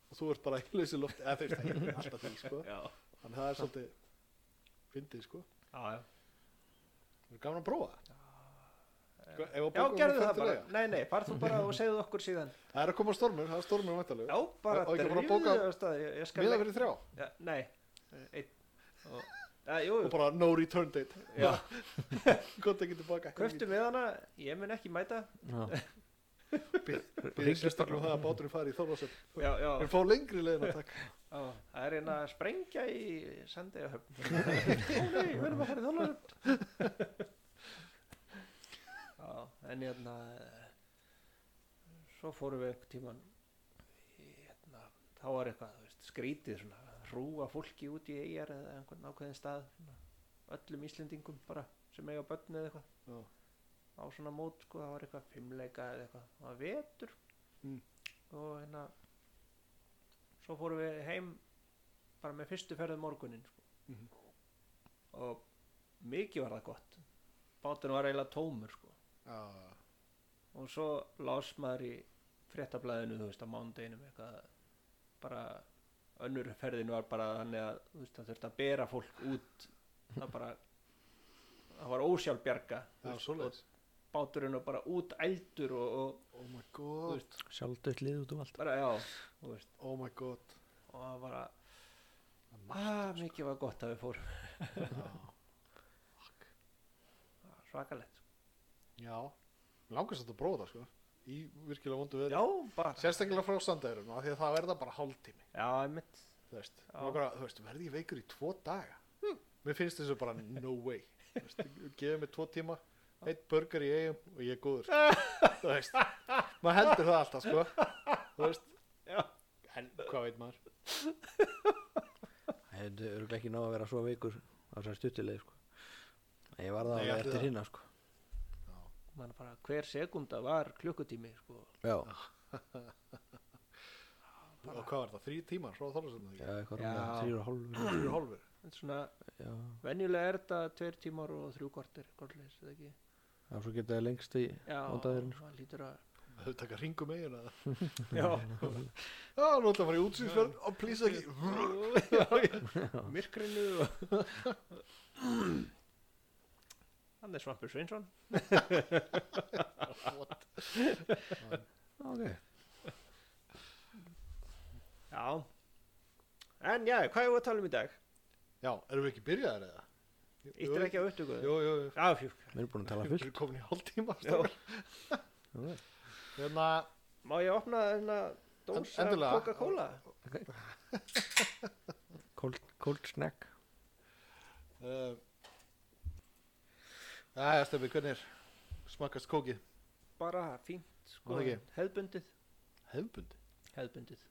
Speaker 2: og þú ert bara í lausi lofti, eða þeir stækja alltaf því, sko.
Speaker 1: já,
Speaker 2: Þannig að það er svolítið fyndið, sko.
Speaker 1: já, já
Speaker 2: Það er gaman að prófa það.
Speaker 1: Já, gerðu það bara, nei, nei, farð þú bara og segðu okkur
Speaker 2: *laughs*
Speaker 1: síðan
Speaker 2: Það er að koma stormur, það er stormur vantalegu.
Speaker 1: Já, bara
Speaker 2: Á- á ekki bara
Speaker 1: drífðu
Speaker 2: að bóka-
Speaker 1: þig af stað, ég- ég skal
Speaker 2: Miða
Speaker 1: legg-
Speaker 2: verið þrjá
Speaker 1: Já, Nei, einn og, já, jú,
Speaker 2: og bara no return date. *laughs*
Speaker 1: já,
Speaker 2: Gótt ekki tilbaka.
Speaker 1: köftu með hana ég mun ekki mæta
Speaker 3: *laughs* já,
Speaker 2: Býðið sérstaklega um það að báturinn fari í Þorlásöld.
Speaker 1: Já, já,
Speaker 2: Við fá lengri leiðina, takk.
Speaker 1: Já, það er eina að sprengja í sendiðahöfn. Ó nei, við erum að fara í þólaröfn. Já, en hérna, eh, svo fórum við einhvern tíman, hérna, þá var eitthvað, þú veist, skrítið svona, hrúa fólki út í eigjar eða einhvern ákveðin stað, svona, öllum Íslendingum bara, sem eiga börn eða eitthvað,
Speaker 2: Já.
Speaker 1: á svona mót, sko, það var eitthvað fimmleika eða eitthvað, það var vetur
Speaker 2: Mm.
Speaker 1: og hérna, svo fórum við heim bara um með fyrstu ferðu morgunin sko.
Speaker 2: Mhm.
Speaker 1: og mikið var það gott báturinn var eiginlega tómur sko.
Speaker 2: Já,
Speaker 1: og svo las maður í fréttablaðinu þú veist á mánudeginum eitthvað bara önnur ferðin var bara þannig að þú veist það þurfti að bera fólk út það bara það var ósjálfbjarga þú
Speaker 2: já,
Speaker 1: veist,
Speaker 2: svoleiðis.
Speaker 1: og báturinn var bara út ældur og, og
Speaker 2: Oh my
Speaker 1: Þú
Speaker 2: god,
Speaker 3: sjálfdögt lið út um allt
Speaker 1: bara já þú veist,
Speaker 2: oh my god.
Speaker 1: og það var að
Speaker 2: Það er margt, sko.
Speaker 1: ah, mikið var gott að við fórum
Speaker 2: já.
Speaker 1: Það var svakalegt sko.
Speaker 2: Já, langast þetta að prófa það sko Í virkilega vondu við
Speaker 1: já bara
Speaker 2: Sérstaklega frá standaðurum Því að það verða bara hálftími
Speaker 1: já einmitt
Speaker 2: Þú veist,
Speaker 1: Já.
Speaker 2: Nogra, þú veist verði ég veikur í tvo daga Mér finnst þessu bara no *laughs* way Þú veist, Gefið mér tvo tíma Eitt burger í eigum og ég er góður sko. *laughs* Þú veist, maður heldur það alltaf sko Þú veist
Speaker 1: Já.
Speaker 2: En hvað veit maður
Speaker 3: þetta er örugglega ekki ná að vera svo veikur á þessari stuttileg sko. En ég var
Speaker 2: Nei,
Speaker 3: það alveg
Speaker 2: ætli
Speaker 3: eftir
Speaker 2: það.
Speaker 3: hinn sko.
Speaker 1: Man bara, hver sekunda var klukkutími sko.
Speaker 3: já,
Speaker 2: Og hvað var það, þrý tímar frá þorðarsöndum
Speaker 3: já,
Speaker 2: Já,
Speaker 3: eitthvað
Speaker 1: Já.
Speaker 3: rúmlega þrýr og hálfur
Speaker 2: þrjú hálfur
Speaker 1: En svona,
Speaker 3: já,
Speaker 1: venjulega er þetta tveir tímar og þrjú kortir kortleis, eða ekki
Speaker 3: já, svo geta það lengst í
Speaker 1: já,
Speaker 3: Mánudagur,
Speaker 2: sko.
Speaker 1: það lítur að
Speaker 2: Þau taka um ringum eigin að
Speaker 1: já,
Speaker 2: *laughs* Já, nú ætla að fara í útsýnsverð Og plýsa ekki
Speaker 1: myrkrinu og hann er Svampur Sveinsson
Speaker 2: What?
Speaker 3: ok,
Speaker 1: já en já, hvað er að tala um í dag?
Speaker 2: Já, erum við ekki byrjaðar eða?
Speaker 1: Íttir ekki á upptöku?
Speaker 2: Jú, jú, jú.
Speaker 1: já, fjúk
Speaker 3: við erum búin að tala
Speaker 2: Við
Speaker 3: fullt
Speaker 2: erum komin í hálftíma.
Speaker 1: já.
Speaker 2: strákar.
Speaker 3: Ok.
Speaker 2: Hérna,
Speaker 1: má ég opna þennan dós af
Speaker 2: En- endilega.
Speaker 1: Coca-Cola?
Speaker 3: cold, cold snack
Speaker 2: uh, Jæja, Steffi, hvernig er smakast kókið?
Speaker 1: bara fínt sko,
Speaker 2: Má ekki?
Speaker 1: hefðbundið
Speaker 2: Hefðbundi.
Speaker 1: hefðbundið,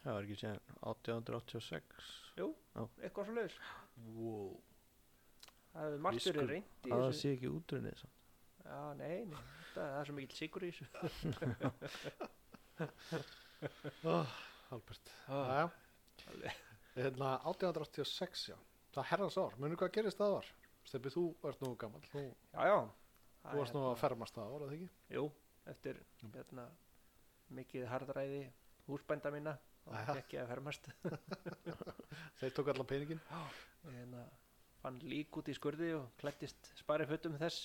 Speaker 3: það var ekki séðan 1886
Speaker 1: eitthvað svo leiðis
Speaker 2: Wow.
Speaker 1: það hefur margt
Speaker 2: Viskur.
Speaker 1: verið reynd í
Speaker 3: að það
Speaker 1: þessu
Speaker 3: sé ekki útrunnið samt.
Speaker 1: já, nei, nei, þetta, það er svo mikill sigur í þessu
Speaker 2: Oh, Albert. Jæja. Ah, Hérna, 1886, já. Það er herrans ár. Munir hvað gerist það var? Steffi, þú ert nú gammal. Þú,
Speaker 1: já, já Það
Speaker 2: þú varst nú
Speaker 1: hérna-
Speaker 2: að fermast það ár, að það ekki?
Speaker 1: Jú, eftir hérna, mikið harðræði húsbænda mína og
Speaker 2: Jæja.
Speaker 1: ekki að fermast
Speaker 2: Þeir tók allan peningin.
Speaker 1: hérna, fann lík út í skurði og klættist spari fötum þess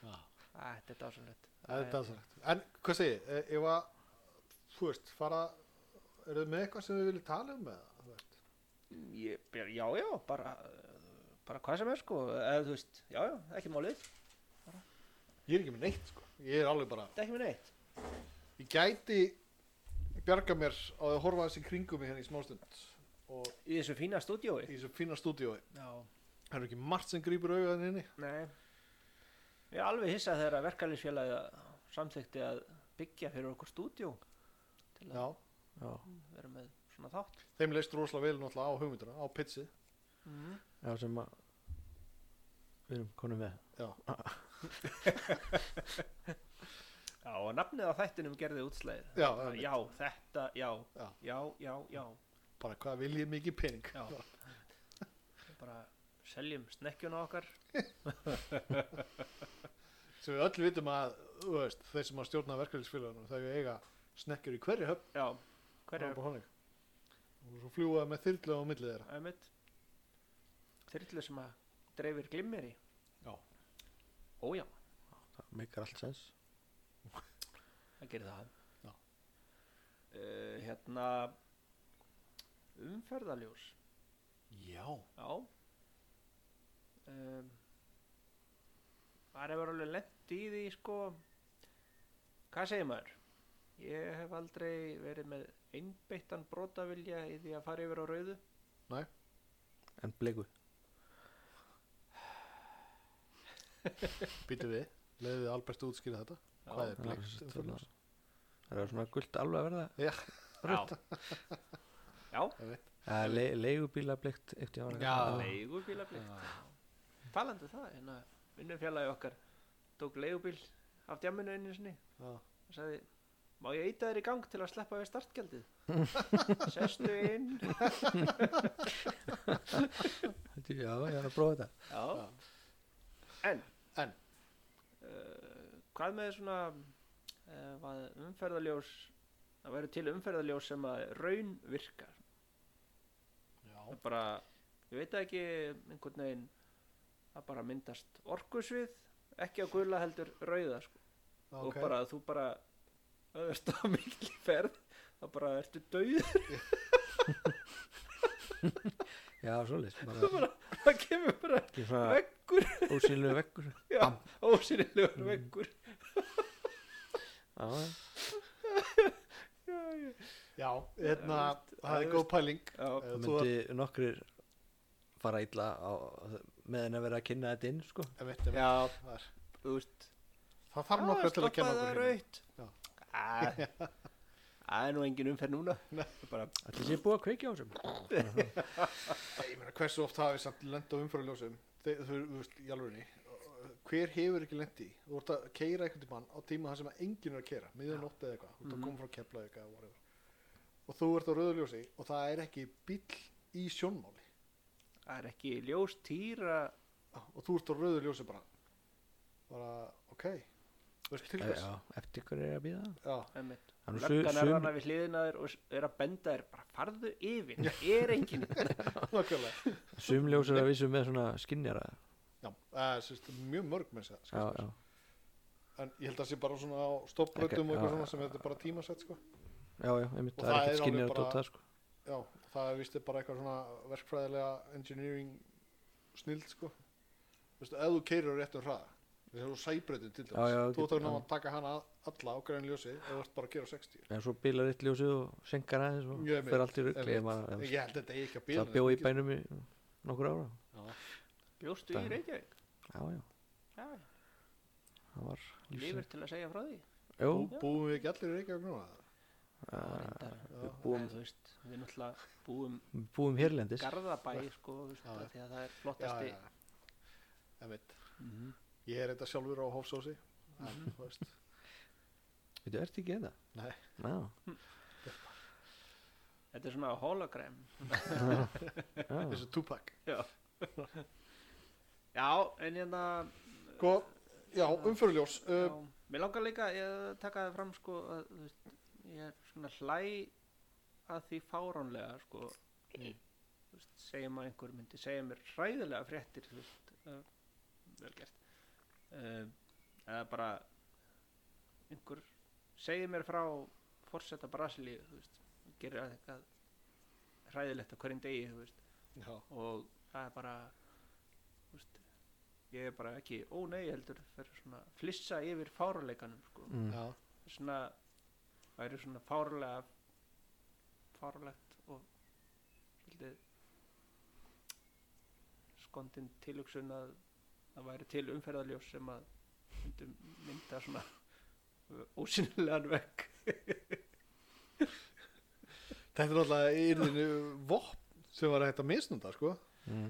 Speaker 2: Já.
Speaker 1: Æ, Þetta er dásanlegt
Speaker 2: Það er dansalegt. En hvað segi, ég, ef að, þú veist, fara, eru þið með eitthvað sem við viljum tala um með það?
Speaker 1: Ég- Já, já, bara bara hvað sem er sko eða þú veist, já, já, ekki málið
Speaker 2: Ég er ekki með neitt, sko. Ég er alveg bara,
Speaker 1: þetta er ekki með neitt
Speaker 2: Ég gæti bjarga mér á að horfa þessi kringum mig hérna í smástund og
Speaker 1: í þessu fína stúdíói
Speaker 2: í þessu fína stúdíói.
Speaker 1: Já,
Speaker 2: Það er ekki margt sem grýpur auðan inni.
Speaker 1: nei Ég er alveg hissað þegar að verkalýsfélagi samþykti að byggja fyrir okkur stúdíó til að
Speaker 2: Já.
Speaker 3: já,
Speaker 1: vera með svona þátt
Speaker 2: Þeim leist rosalega vel náttúrulega á hugmyndina, á pitsið.
Speaker 1: mm.
Speaker 3: já sem að við erum konum með
Speaker 2: Já.
Speaker 1: Já, og nafnið á þættinum gerði útslæðið.
Speaker 2: Já,
Speaker 1: Bara,
Speaker 2: einmitt.
Speaker 1: já, þetta, já,
Speaker 2: Já.
Speaker 1: já, já, já,
Speaker 2: Bara hvað vil ég mikið pening.
Speaker 1: já. *laughs* Bara seljum snekkjuna okkar.
Speaker 2: Sem við öll vitum að, þú veist, þeir sem að stjórna verkefælisfélagunum, þau eiga snekkjur í hverju höfn.
Speaker 1: Já, hver
Speaker 2: það
Speaker 1: er
Speaker 2: bara þannig. Og svo fljúa með þyrlu á millið þeirra.
Speaker 1: ömmit? Þyrlu sem að dreifir glimmeri.
Speaker 2: Já.
Speaker 1: Ó já,
Speaker 3: það mikar allt sens
Speaker 1: það gerir það.
Speaker 2: Já.
Speaker 1: Eh, hérna, umferðaljós.
Speaker 2: Já.
Speaker 1: Já. Um, maður hefur alveg lent í því, sko, hvað segir maður? Ég hef aldrei verið með einbeittan brotavilja í því að fara yfir á rauðu.
Speaker 3: en blegu
Speaker 2: Býtu við. Leðið Albert útskýra þetta. Hvað er
Speaker 3: það er
Speaker 2: blikt?
Speaker 3: sem sagt þarna- það er svona gult alveg að verða
Speaker 2: Já.
Speaker 1: Já. Já,
Speaker 3: Ja, le, leigubíla blikt eftir ára
Speaker 2: Já.
Speaker 1: leigubílablikt.
Speaker 2: Ah.
Speaker 1: Talandi um það, hérna, vinnufélagi okkar tók leigubíl af djamminu einu sinni
Speaker 2: Já.
Speaker 1: og sagði, má ég eita þér í gang til að sleppa við
Speaker 2: *laughs*
Speaker 1: startgjaldið? Sestu inn.
Speaker 3: Þetta já, ég er að prófa þetta
Speaker 1: Já. En,
Speaker 2: En.
Speaker 1: Uh, hvað með svona uh, hvað umferðarljós það verður til umferðarljós sem að raun virkar það
Speaker 2: Já,
Speaker 1: er bara, ég veit það ekki einhvern veginn það bara myndast orkusvið ekki á gula heldur rauða sko. og
Speaker 2: ok.
Speaker 1: bara þú bara öðvist á mikil ferð þá bara ertu dauður *laughs*
Speaker 3: já, svoleiðis, bara
Speaker 1: bara, það kemur bara
Speaker 3: ekki svona
Speaker 1: veggur
Speaker 3: ósýnlegu veggur já,
Speaker 1: já, ósynilegur veggur
Speaker 2: Mm.
Speaker 3: já.
Speaker 1: já, já.
Speaker 2: Já, hérna, það er góð pæling.
Speaker 1: Já,
Speaker 2: Ef
Speaker 3: það
Speaker 2: þú
Speaker 3: myndi nokkrir fara illa á, meðan að vera að kynna þetta inn sko.
Speaker 2: Ég veit, ég veit.
Speaker 1: já,
Speaker 2: Það er-
Speaker 1: þú veist
Speaker 2: það þarf nokkað til að kenna
Speaker 1: okkur hérna.
Speaker 2: okkur hérna. hinn.
Speaker 1: raut
Speaker 2: Já.
Speaker 1: Æ, *laughs* Það er nú engin umferð
Speaker 2: *laughs*
Speaker 1: núna bara,
Speaker 3: Ætli sé búið að kveikja á þessum
Speaker 2: Ég meina, hversu oft hafið samt lenda á umfæraljósum? Þau, þú veist, í alvegni. Hver hefur ekki lendi? Þú ert að keira einhvern tímann á tíma þar sem að enginn er að keira, miðan ótt eða eitthvað. Þú ert að
Speaker 1: Mhm.
Speaker 2: koma frá kepla eitthvað og whatever. Og þú ert á rauðuljósi og það er ekki bíll í sjónmáli.
Speaker 1: Það er ekki ljós týra
Speaker 2: Og þú ert á rauðuljósi bara, bara, ok. Þú veist, til hvers?
Speaker 3: já, eftir hverju er að býða
Speaker 2: Já,
Speaker 1: einmitt.
Speaker 3: Hann er
Speaker 1: Löggan er
Speaker 3: sum,
Speaker 1: hana við hliðina á þér og s- er að benda þér bara farðu yfir, það er
Speaker 2: *laughs*
Speaker 1: engin
Speaker 2: nákvæmlega.
Speaker 3: sum, sum ljósir að vissu með svona skinnjara sko.
Speaker 2: Já, uh, sérst, mjög mörg með þess
Speaker 3: já,
Speaker 2: að
Speaker 3: já.
Speaker 2: en ég held að það sé bara svona á stopprötum
Speaker 3: Ekki-
Speaker 2: og eitthvað
Speaker 3: já,
Speaker 2: svona
Speaker 3: já.
Speaker 2: sem þetta er bara tímasett sko.
Speaker 3: já, já, einmitt,
Speaker 2: Og
Speaker 3: það
Speaker 2: það
Speaker 3: er
Speaker 2: er
Speaker 3: ekkert
Speaker 2: alveg
Speaker 3: skinnjara
Speaker 2: bara-
Speaker 3: tóta sko.
Speaker 2: já, og það er vist bara eitthvað svona verkfræðilega engineering snild sko. Vistu, ef þú keirir á réttum hraða þess að þú sæbrötum til
Speaker 3: Já, já,
Speaker 2: dæmis þú
Speaker 3: getur-
Speaker 2: ert að ná
Speaker 3: já.
Speaker 2: að taka hana alla á græn ljósi ef þú ert bara að gera á 60
Speaker 3: en svo bílar eitt ljósið og senkar aðeins og
Speaker 2: Já, einmitt,
Speaker 3: fer allt í rugli
Speaker 2: Einmitt.
Speaker 3: ef maður- ef-
Speaker 2: ég held þetta eigi ekki að bíla
Speaker 3: það bjóði í bænum í nokkur ára
Speaker 1: Bjóstu í Reykjavík
Speaker 3: já, já,
Speaker 1: Já,
Speaker 3: það var lífsins-
Speaker 1: Lifir til að segja frá því
Speaker 3: Jú,
Speaker 2: búum við ekki allir í Reykjavík núna
Speaker 1: Það
Speaker 3: uh,
Speaker 1: er reyndar.
Speaker 2: já,
Speaker 1: Nei,
Speaker 3: búum-
Speaker 1: þú veist, Við náttúrulega búum
Speaker 3: við búum hérlendis
Speaker 1: garðabæ sko, þú veist,
Speaker 2: Já, já.
Speaker 1: af því að það er
Speaker 2: já,
Speaker 1: flottasti Mhm.
Speaker 2: já, já. Ég, veit, ég er þetta sjálfur á hófsósi en,
Speaker 3: Mhm.
Speaker 2: þú veist,
Speaker 3: Veitu, ertu ekki hérna? eða?
Speaker 2: Nei.
Speaker 3: Já,
Speaker 2: *laughs*
Speaker 1: Þetta er svona hologram
Speaker 3: já,
Speaker 2: þessu Tupac
Speaker 1: Já, já en hérna
Speaker 2: Sko, já, umfyrirljós uh,
Speaker 1: Já, mér langar líka ég, að taka það fram sko að, þú veist, ég er svona hlæ að því fáránlega sko
Speaker 2: Mm.
Speaker 1: þú veist, segjum að einhver myndi segja mér hræðilega fréttir þú veist, uh, vel gert uh, eða bara einhver segja mér frá fórseta Brasilíu þú veist, gerir að eitthvað hræðilegt á hverjum degi þú veist
Speaker 2: já,
Speaker 1: og það er bara þú veist, ég er bara ekki ó nei heldur fyrir svona flissa yfir fáruleikanum sko.
Speaker 3: mm,
Speaker 2: já,
Speaker 1: svona það eru svona fárulega fárulegt og svolítið skondin tilugsun að það væri til umferðarljós sem að myndu mynda svona ósynilegan vekk
Speaker 2: Þetta er náttúrulega í yrðinu vopn sem var hægt að misnunda, sko.
Speaker 3: mm.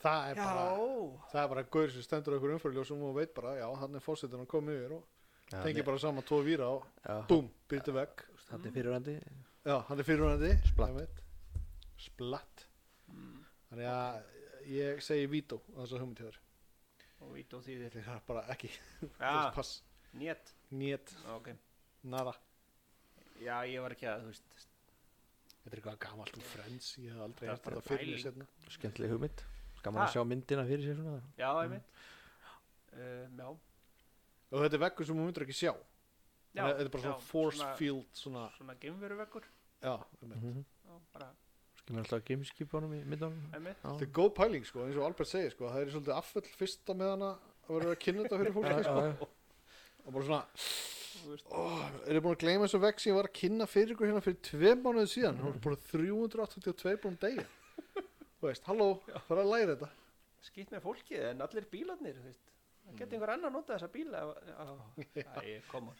Speaker 2: Það er
Speaker 1: já,
Speaker 2: bara, það er bara gaur sem stendur okkur umfyrirljósum og veit bara, já, hann er fórsetin að koma yfir og
Speaker 3: Já,
Speaker 2: tengir bara saman tvo víra og
Speaker 3: já,
Speaker 2: búm, byrtu vekk.
Speaker 3: Þetta er fyrirandi
Speaker 2: Já, hann er fyrirhundandi.
Speaker 3: Splatt.
Speaker 2: Splatt.
Speaker 1: mm,
Speaker 2: Þannig að ég segi vító á þessa hugmynd hjá þér.
Speaker 1: og ít og þýðir
Speaker 2: Þetta er bara ekki, það er
Speaker 1: já,
Speaker 2: pass,
Speaker 1: nét,
Speaker 2: nét,
Speaker 1: ok
Speaker 2: nara.
Speaker 1: já, ég var ekki að, þú veist
Speaker 2: Þetta er eitthvað gamalt úr Friends, ég hef aldrei
Speaker 1: Þetta
Speaker 2: hægt
Speaker 1: er
Speaker 2: þetta fyrir
Speaker 1: pæling.
Speaker 2: mér setna.
Speaker 3: skemmtileg hugmynd Gaman
Speaker 1: Ha.
Speaker 3: að sjá myndina fyrir sér svona
Speaker 1: Já, einmitt um, Mm. Já,
Speaker 2: Og þetta er vekkur sem hún myndir ekki sjá.
Speaker 1: já
Speaker 2: Þannig að Þetta er bara
Speaker 1: já,
Speaker 2: svona force field, svona,
Speaker 1: Svona geimveruveggur
Speaker 2: já, um
Speaker 3: mm -hmm.
Speaker 1: Já, bara,
Speaker 3: Skilur alltaf gameskipunum í myndunum
Speaker 1: einmitt
Speaker 3: Já,
Speaker 2: Þetta er góð pæling sko, eins og Albert segir sko, það er svolítið afföll fyrsta með hana að vera að kynna þetta fyrir
Speaker 3: já,
Speaker 2: *laughs* fólki sko.
Speaker 3: já, já.
Speaker 2: og bara svona,
Speaker 1: Þú veist,
Speaker 2: ó, er ég búin að gleyma þessu vekk sem ég var að kynna fyrir ykkur hérna fyrir tvei mánuði síðan, hún er bara 382 búin degi þú veist, halló, það er að læra þetta
Speaker 1: skýtt með fólkið en allir bílarnir, þú veist Það geti einhver annar notað þessa bíla Æ, koma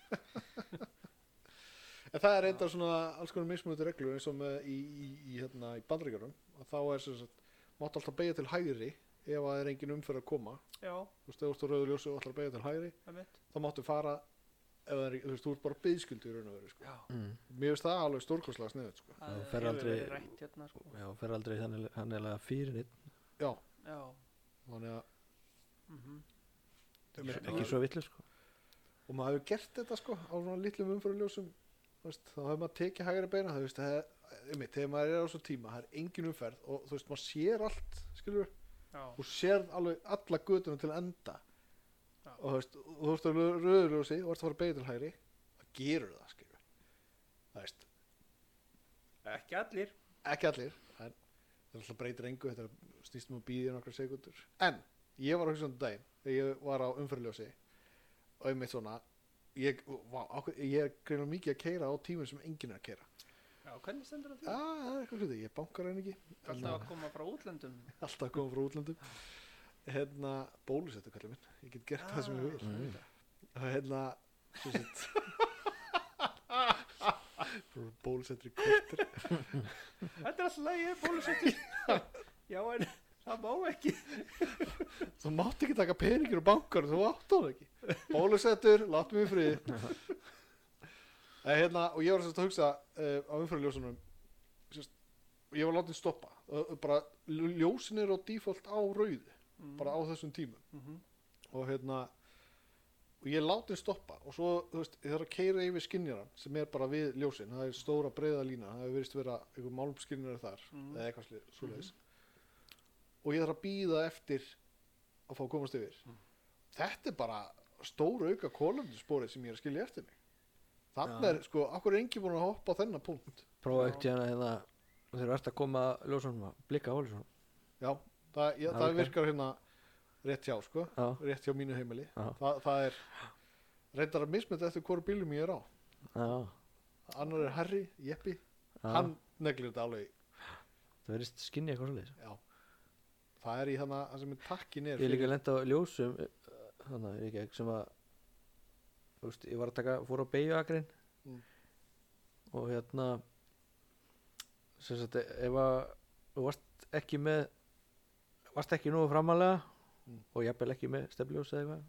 Speaker 2: en það er eitthvað svona alls konar mismunandi reglur eins og með í, í, í, hérna, í bandryggjörnum að þá er sem sagt, mátt alltaf beigja til hægri ef að það er engin umferð að koma
Speaker 1: Já,
Speaker 2: þú veist, ef þú ert á rauðu ljósi og ætlar að beigja til hægri
Speaker 1: einmitt
Speaker 2: þá máttu fara ef það er, ekki- þú veist, þú ert bara byðskildur í raun og veru sko.
Speaker 1: Já,
Speaker 3: Mm.
Speaker 2: Mér finnst það alveg stórkostlega sniðut sko.
Speaker 1: það
Speaker 3: fer
Speaker 1: hefur
Speaker 3: aldrei-
Speaker 1: verið rætt hérna sko.
Speaker 3: já, fer aldrei þannig þannig að fyrir nýtt
Speaker 2: Já,
Speaker 1: já,
Speaker 2: þannig að
Speaker 1: mhm,
Speaker 2: Svo-
Speaker 3: ekki svo vitlu sko
Speaker 2: og maður hefur gert þetta sko á svona litlum umfyrirljósum veist, þá hefur maður tekið hægra beina þú veist, það er mitt, þegar maður er á svo tíma það er engin umferð og þú veist, maður sér allt skilur,
Speaker 1: já,
Speaker 2: og sér alveg alla götunum til enda
Speaker 1: Já.
Speaker 2: og þú veist, og þú veist að röðurljósi og ert að fara að beina til hægri það gerur það, skilur það veist,
Speaker 1: ekki allir
Speaker 2: ekki allir en það er alltaf breytir engu þetta snýstum að býða nokkra sekundur en ég var okkur svona daginn þegar ég var á umfyrirljósi og ég mitt svona ég, vá, okkur, ég er greina mikið að keira á tímum sem enginn er að keira
Speaker 1: já, hvernig stendur á því?
Speaker 2: ah, það er eitthvað hluti, ég bankar henni ekki Hérna,
Speaker 1: alltaf að koma frá útlöndum
Speaker 2: alltaf að koma frá útlöndum hérna, bólusettu kallið minn ég get gert það sem
Speaker 1: Ah.
Speaker 2: ég vil
Speaker 3: Mm.
Speaker 2: og hérna sem sagt *laughs* bólusettur í kortir
Speaker 1: þetta er alltaf lagi, ég er bólusettur já, en það má ekki
Speaker 2: þú mátt ekki taka peningir og bankar þú átt hann ekki bólusettur, látt mig í friði en, hérna, og ég var sérst að hugsa uh, á umfyrirljósunum sérst, ég var látið stoppa uh, bara ljó- ljósin eru á default á rauðu
Speaker 1: Mm,
Speaker 2: bara á þessum tímum
Speaker 1: mhm,
Speaker 2: og hérna og ég látið stoppa og svo þú veist, ég þarf að keira yfir skinnjaran sem er bara við ljósin, það er stóra breiða lína það hefur verist vera einhver málmskinnjari þar
Speaker 1: mhm.
Speaker 2: eða eitthvað slið, svoleiðis og ég þarf að býða eftir að fá að komast yfir
Speaker 1: Mm.
Speaker 2: þetta er bara stóra auka kólöfnusbórið sem ég er að skilja eftir mig þannig
Speaker 3: Já.
Speaker 2: er, sko, akkur er engin búin að hoppa á þennan punkt
Speaker 3: prófa
Speaker 1: Já.
Speaker 3: ekkert hérna hérna þegar ert að koma ljósunum að blika á ljósunum
Speaker 2: já, það, já,
Speaker 3: Já,
Speaker 2: það
Speaker 3: ok.
Speaker 2: virkar hérna rétt hjá, sko,
Speaker 3: já,
Speaker 2: rétt hjá mínu heimili
Speaker 3: Já.
Speaker 2: Þa, það er reyndar að mismynda eftir hvora bílum ég er á
Speaker 3: já,
Speaker 2: annar er Harry, Jeppi,
Speaker 3: já.
Speaker 2: hann neglir þetta alveg,
Speaker 3: það verðist skinni eitthvað svolítið
Speaker 2: já það er í þannig að sem er takkin er
Speaker 3: ég er líka
Speaker 2: fyrir-
Speaker 3: lenda á ljósum eh, þannig að ég ekki sem að þú veist, ég var að taka, fór á beigjuakrin
Speaker 2: Mm.
Speaker 3: og hérna sem sagt e- ef að þú varst ekki með varst ekki nógu framalega
Speaker 2: Mm.
Speaker 3: og jafnvel ekki með stefljós eða eitthvað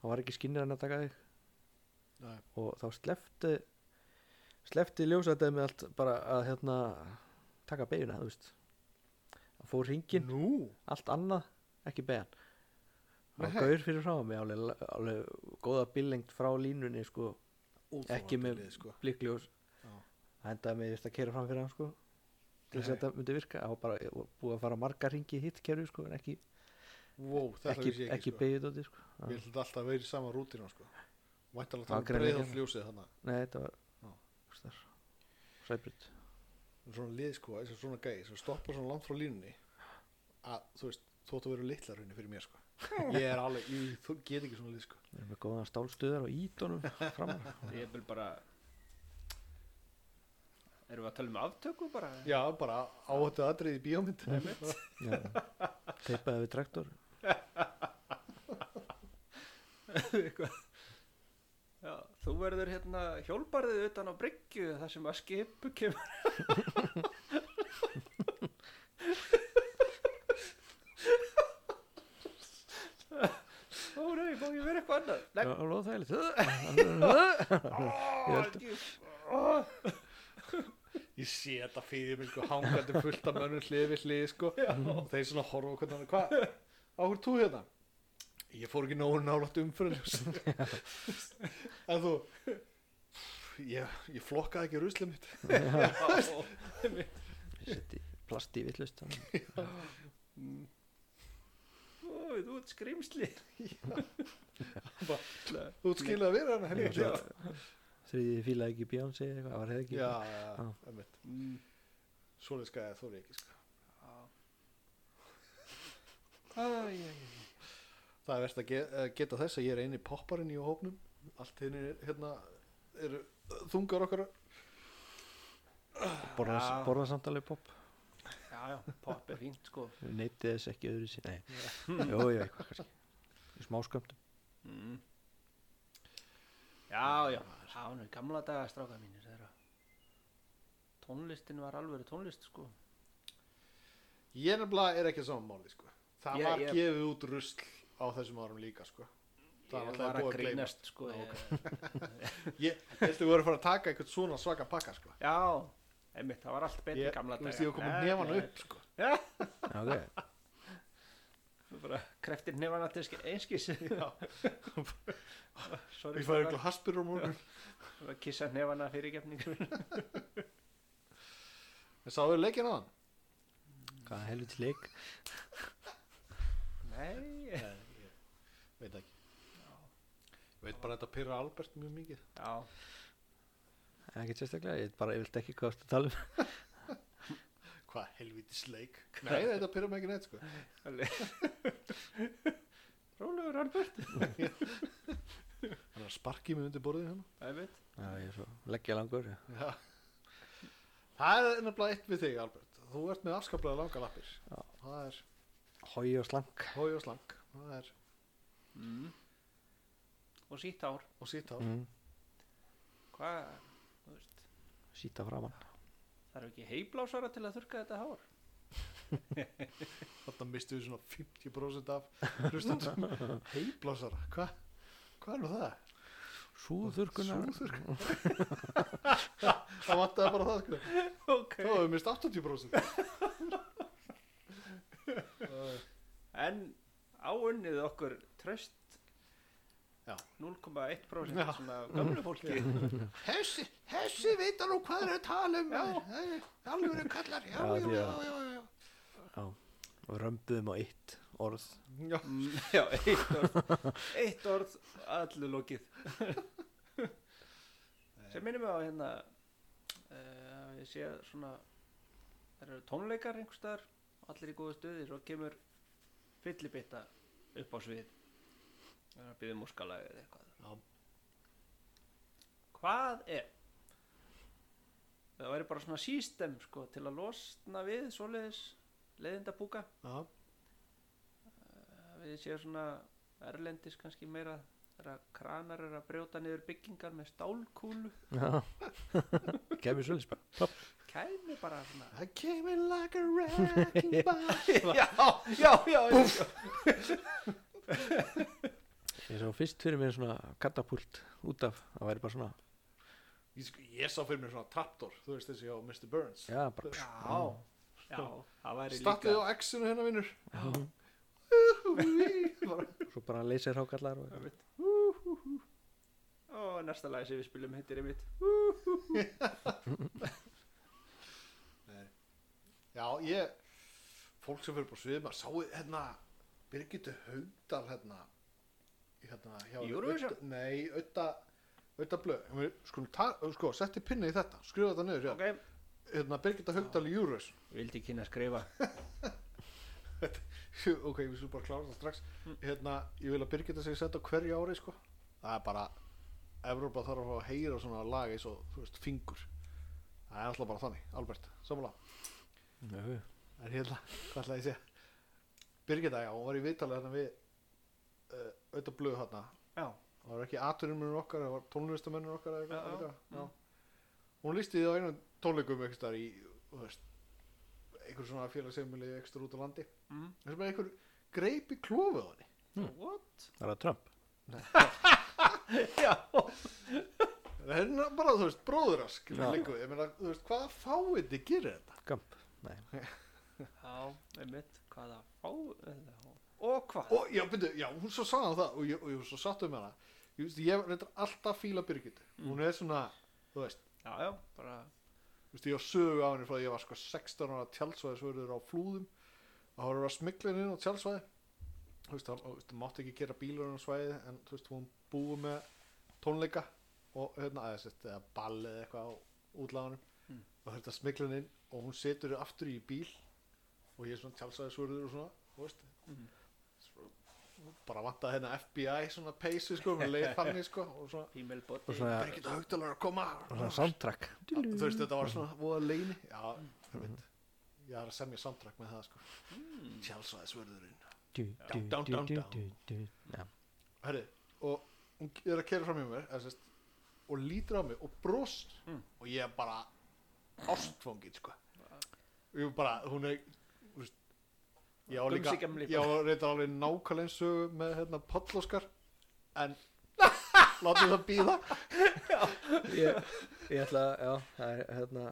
Speaker 3: þá var ekki skinnir að taka þig
Speaker 2: Nei.
Speaker 3: og þá slefti slefti ljósættið með allt bara að hérna taka beigjuna, þú veist það fór hringin
Speaker 2: nú,
Speaker 3: allt annað, ekki beðan það
Speaker 2: Nei.
Speaker 3: var gaur fyrir frá mig alveg, alveg góða billengt frá línunni sko, ekki með
Speaker 2: Óþolandi, sko.
Speaker 3: blikkljós
Speaker 2: Já.
Speaker 3: það endaði mig veist að kera fram fyrir hann sko, til þess að
Speaker 2: Nei.
Speaker 3: þetta myndi virka það var bara ég var búið að fara marga ringi í hitt kerfi sko, en ekki,
Speaker 2: Wow, þetta
Speaker 3: ekki,
Speaker 2: vissi ég
Speaker 3: ekki
Speaker 2: ekki, sko.
Speaker 3: beigjuð dóti sko.
Speaker 2: Ég held þetta alltaf að vera í sama rútina sko. Væntalega
Speaker 3: Það
Speaker 2: það
Speaker 3: greinilega
Speaker 2: breiða
Speaker 3: ekki.
Speaker 2: fljósið þannig
Speaker 3: nei, þetta var
Speaker 2: Já.
Speaker 3: einhvers staðar, sæbrut
Speaker 2: Svona lið sko, eins og svona gæi sem stoppar svona langt frá línunni að þú veist, þú ætti að vera litla raunni fyrir mér sko. Ég er alveg, ég, þú get ekki svona lið sko.
Speaker 3: við erum með góðan stálstuðar og ídónum framar
Speaker 1: ég vil bara erum við að tala um aftöku bara
Speaker 2: Já, bara áhættu aðrið í bíómynd
Speaker 3: Já. teipaði við traktor
Speaker 1: *laughs* Eitthvað. Já, þú verður hérna hjólbarðið utan á bryggju þar sem að skipu kemur Ó nei, má ég vera eitthvað annað Nei,
Speaker 3: og loða þægilegt
Speaker 1: ó,
Speaker 3: ég held-
Speaker 1: djú- ó,
Speaker 2: Ég sé þetta fyrir mér sko, hangandi fullt af mönnum hlið við hlið sko. og þeir svona horfa á hvernig hann hvað, áhver tú hérna ég fór ekki nógu nálægt umfyrirljós en þú ég, ég flokkaði ekki ruslið mitt
Speaker 1: já,
Speaker 3: setti plasti villust
Speaker 1: Mm. ó, þú ert skrimsli
Speaker 2: þú skiljaði að vera hann henni
Speaker 1: Já.
Speaker 2: já,
Speaker 3: þriði fílaði ekki Beyonce eða eitthvað, það var hefði ekki
Speaker 2: já,
Speaker 3: Já.
Speaker 2: já.
Speaker 1: Mm,
Speaker 2: svoleið skæði þóri ég ekki sko.
Speaker 1: já. Æ, æ, æ, æ.
Speaker 2: það er verðt að ge- eh, geta þess að ég er eini popparinn í hópnum allt hinn er hérna eru þungar okkar
Speaker 3: borða,
Speaker 1: Já.
Speaker 3: borða samtalið pop
Speaker 1: Já, já, popp er fínt sko
Speaker 3: Við neytið þess ekki öðru sín nei, jú, jú, eitthvað kannski í smáskömmtum
Speaker 1: Mm. Já, já, það var nú í gamla daga stráka mínir þeirra. Tónlistin var alveg tónlist, sko.
Speaker 2: ég nefnilega er ekki að saman máli sko. það
Speaker 1: Ég-
Speaker 2: var
Speaker 1: ég-
Speaker 2: gefið út rusl á þessum árum líka sko.
Speaker 1: Ég
Speaker 2: Það var alltaf
Speaker 1: var að
Speaker 2: búið að gleyma.
Speaker 1: grínast, sko. Ég,
Speaker 2: ég ég held að við vorum að fara að taka eitthvað svona svaka pakka sko.
Speaker 1: *laughs* já, einmitt, það var allt betur í gamla
Speaker 2: þú
Speaker 1: daga.
Speaker 2: sko. veist ég var komin
Speaker 1: Nei,
Speaker 2: nefann
Speaker 1: nei.
Speaker 2: upp sko.
Speaker 3: ok,
Speaker 1: bara kreftir nefana til ske- einskis *laughs* sorry
Speaker 2: Ég fæði eitthvað haspur á
Speaker 1: *laughs*
Speaker 2: morgun
Speaker 1: að kissa nefana fyrir gefningu
Speaker 2: En sáðu leikinn á hann?
Speaker 3: Hvað helviti leik
Speaker 1: *laughs* nei
Speaker 2: Veit ekki Ég veit bara að þetta pyrra Albert mjög mikið
Speaker 1: já,
Speaker 3: Ekki sérstaklega, ég bara, ég vilt ekki hvað þú ert að tala um
Speaker 2: Hvað helvítis
Speaker 1: *laughs*
Speaker 2: leik Nei, þetta pyrra mig ekki neitt sko
Speaker 1: rólegur Albert
Speaker 2: Hann er að sparki mig undir borðið hérna
Speaker 1: Æfitt.
Speaker 3: Já, ég er svo leggja langur já.
Speaker 2: Já. Það er nefnilega eitt við þig, Albert. Þú ert með afskaplega langa lappir.
Speaker 3: Já.
Speaker 2: Það er
Speaker 3: Hói og slank
Speaker 2: hói og slang. Það er
Speaker 1: mm. og sítt ár
Speaker 2: og sítt á.
Speaker 3: mm.
Speaker 1: hvað, þú veist
Speaker 3: Sýta framan
Speaker 1: þarf ekki heiblásara til að þurka þetta hár
Speaker 2: Þarna mistu við svona 50% af hlustandum. Heiblásara. Hvað? Hvað er nú það?
Speaker 3: Súðurkunar
Speaker 2: Súðurkunar. *laughs* Það vantaði bara það, sko.
Speaker 1: ok
Speaker 2: Þá hefur mist 80%. Það er-
Speaker 1: en áunnið okkur tröst
Speaker 2: Já.
Speaker 1: 0,1%
Speaker 2: Já.
Speaker 1: svona gamlu fólki
Speaker 2: Þessi, þessi vita nú hvað er að tala um. Já. Það er alveg kallar. Já,
Speaker 3: Já,
Speaker 2: já,
Speaker 3: því
Speaker 2: já,
Speaker 3: að-
Speaker 2: já, já.
Speaker 3: Já, og römbuðum á eitt orð
Speaker 2: Já,
Speaker 1: Mm, já, eitt orð eitt orð, allu lokið *laughs* sem minnum við á hérna uh, ég sé að svona það eru tónleikar einhverstaðar allir í góðu stuði, svo kemur fyllibitta upp á svið það er að byggja múskalagi eða eitthvað
Speaker 2: Já.
Speaker 1: hvað er það væri bara svona sístem sko, til að losna við svoleiðis leiðindabúka
Speaker 2: já.
Speaker 1: að við séum svona erlendis kannski meira þegar kranar eru að brjóta niður byggingar með stálkúlu
Speaker 3: Já *laughs* Kæmi svolítið spil Plopp.
Speaker 1: kæmi bara svona
Speaker 2: I came in like a wrecking ball
Speaker 1: já, já, já, já.
Speaker 3: Ég svo fyrst fyrir mér svona katapult út af Það væri bara svona
Speaker 2: ég, sko- ég sá fyrir mér svona trapdoor Þú veist þessi á Mr. Burns
Speaker 3: Já, bara
Speaker 1: já, já, það væri
Speaker 2: Stattið
Speaker 1: líka
Speaker 2: á X-inu hennar vinnur
Speaker 3: Svo bara leysir hákallar og...
Speaker 1: Einmitt. Hú, hú, hú. og næsta lagi sem við spilum heitir einmitt
Speaker 2: Já, ég Fólk sem fyrir bara svið maður sáu hérna Birgitu Haugdal hérna í hérna hjá
Speaker 1: Eurovision?
Speaker 2: Ödda- Nei, auðda Auðda blöð Sko, ta- sko setti pinni í þetta Skrifa þetta niður
Speaker 1: ok,
Speaker 2: okay. Hérna Birgitta Haugdal í Eurovision
Speaker 1: vildi kynna að skrifa
Speaker 2: *laughs* ok, við skulum bara klára það strax
Speaker 1: Hm.
Speaker 2: hérna, ég vil að Birgitta sig setja á hverju ári sko. það er bara Evrópa þarf að fá að heyra svona lag eins og, þú veist, fingur það er alltaf bara þannig, Albert, sammála
Speaker 3: Nö,
Speaker 2: en hérna, hvað ætlaði ég að segja Birgitta, já, hún var í viðtalið hérna við uh, auðvitað blöð hérna
Speaker 1: já,
Speaker 2: það var ekki aturumurinn okkar, það var tónlistamennur okkar
Speaker 1: Já,
Speaker 2: eða
Speaker 1: já, já.
Speaker 2: eitthvað, eitthvað. hún lísti því á einu tónleikum einhvers staðar í, þú veist einhver svona félagsefmili ekstra út á landi
Speaker 1: mm.
Speaker 2: þessum er einhver greip í klófið á henni
Speaker 1: Hm. what
Speaker 3: það er að Trump
Speaker 1: já,
Speaker 2: Það er nú bara, þú veist, bróðurask
Speaker 3: Já.
Speaker 2: líku, ég meina, þú veist, hvaða fáiði gerir þetta?
Speaker 3: Gamp, nei
Speaker 1: já, einmitt hvaða á og hvað,
Speaker 2: Og, já, byrju, já, hún svo sagði hann það og ég, og ég var svo satt um hana Ég veist, ég reyndar alltaf fíla Birgitu
Speaker 1: Mm.
Speaker 2: Hún er svona, þú veist,
Speaker 1: já, já, bara
Speaker 2: þú veist, ég var sögu af henni frá því ég var sko 16 ára tjálsvæðisvörður á flúðum og hún var að smikla henni inn á tjálsvæði þú veist, hann, og, þú veist, hann mátti ekki gera bílar á svæði en, þú veist, hún búið með tónleika og, hérna, aðeins, þetta eða ball eða eitthvað á útláðanum
Speaker 1: Mm.
Speaker 2: og þetta smikla henni inn og hún setur þau aftur í bíl og ég er svona tjálsvæðisvörður og svona, þú veist
Speaker 1: Mhm.
Speaker 2: Svo- bara vantaði hérna FBI svona peysu sko, með leið þannig sko og svona,
Speaker 1: female
Speaker 3: Og
Speaker 1: body
Speaker 3: svona,
Speaker 2: Birgitta Haugdalar að koma
Speaker 3: og svona soundtrack
Speaker 2: Já, þú veist þetta var svona voða leini já, þú veit ég er að semja samtrakk með það sko
Speaker 1: mm.
Speaker 2: sjálfsvæðisvörðurinn
Speaker 3: Dú, dú,
Speaker 2: Dán, dán,
Speaker 3: dú,
Speaker 2: dán,
Speaker 3: dú,
Speaker 2: dán.
Speaker 3: dú, dú. Já,
Speaker 2: herri, og hún er að kera fram í mér eða sérst, og lítur á mig og brosir
Speaker 1: Mm.
Speaker 2: og ég er bara ástfóngin sko og ég er bara, hún er þú veist, ég á
Speaker 1: Gumsi
Speaker 2: líka
Speaker 1: gamli
Speaker 2: ég á reyndar alveg nákvæmlega eins og með hérna palloskar
Speaker 1: *laughs*
Speaker 2: en látum það býða
Speaker 3: ég, ég ætla að, já, það er hérna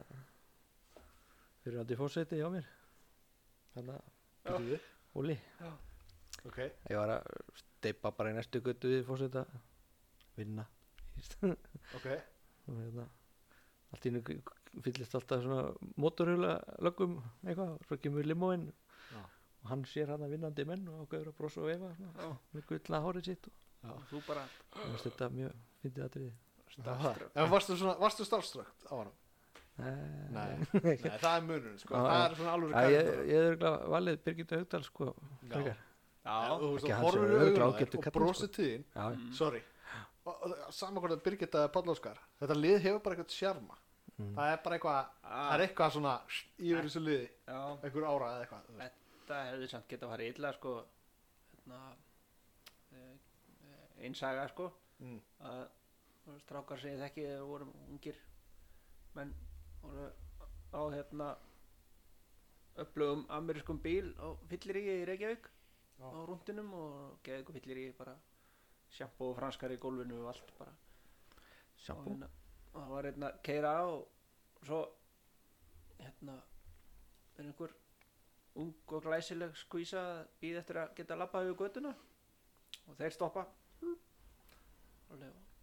Speaker 3: fyrir að þið fórseti hjá mér hérna,
Speaker 1: Já.
Speaker 2: býði
Speaker 3: Óli
Speaker 2: ok,
Speaker 3: ég var að steipa bara í næstu götu við fórseta vinna og
Speaker 2: ok
Speaker 3: hérna allt í einu fyllist alltaf svona mótorhjóla löggum eitthvað, og svo kemur limóin
Speaker 2: Já.
Speaker 3: og hann sér hann að vinnandi menn og ágæður að brosa og veifa svona,
Speaker 1: Já.
Speaker 3: með gulla hárið sitt og
Speaker 2: Já.
Speaker 1: og þú bara
Speaker 3: mér finnst þetta mjög fyndið atriði
Speaker 1: starfströkk
Speaker 2: En varstu, svona, varstu starfströkt á hann?
Speaker 3: Nei.
Speaker 2: Nei, það er munurinn sko.
Speaker 3: Já,
Speaker 2: Það
Speaker 3: já.
Speaker 2: er svona alveg
Speaker 3: Já, ég, ég er örugglega valið Birgitta Haugdal sko frekar.
Speaker 1: já,
Speaker 2: Þú
Speaker 3: Ekki
Speaker 2: veist, þú
Speaker 3: hann
Speaker 2: horfir
Speaker 3: sem
Speaker 2: í
Speaker 3: örugglega
Speaker 2: augun á
Speaker 3: ágætur
Speaker 2: þér og
Speaker 3: kallinn,
Speaker 2: brosir tíðin
Speaker 3: Já,
Speaker 1: Mm.
Speaker 2: Sorry Og- og- Sama hvort að Birgitta eða Páll Óskar Þetta lið hefur bara eitthvað sjarma
Speaker 3: Mm.
Speaker 2: Það er bara eitthvað Það er eitthvað svona sh- yfir þessu liði
Speaker 1: já
Speaker 2: Einhver ára eða eitthvað þú veist.
Speaker 1: þetta hefði samt getað að fara illa sko hérna, eh, einsaga sko
Speaker 2: Mm.
Speaker 1: að þú veist, strákar sem ég þekki þegar við vorum ungir menn voru á hérna upplöfum amerískum bíl og fyllir í í Reykjavík
Speaker 2: Já.
Speaker 1: á rúndinum og geði ykkur fyllir í bara sjampó og franskar í gólfinu og allt bara og
Speaker 3: sjáum
Speaker 1: hérna, og það var hérna keira á og svo hérna er einhver ung og glæsileg skvísa býð eftir að geta labbað við götuna og þeir stoppa og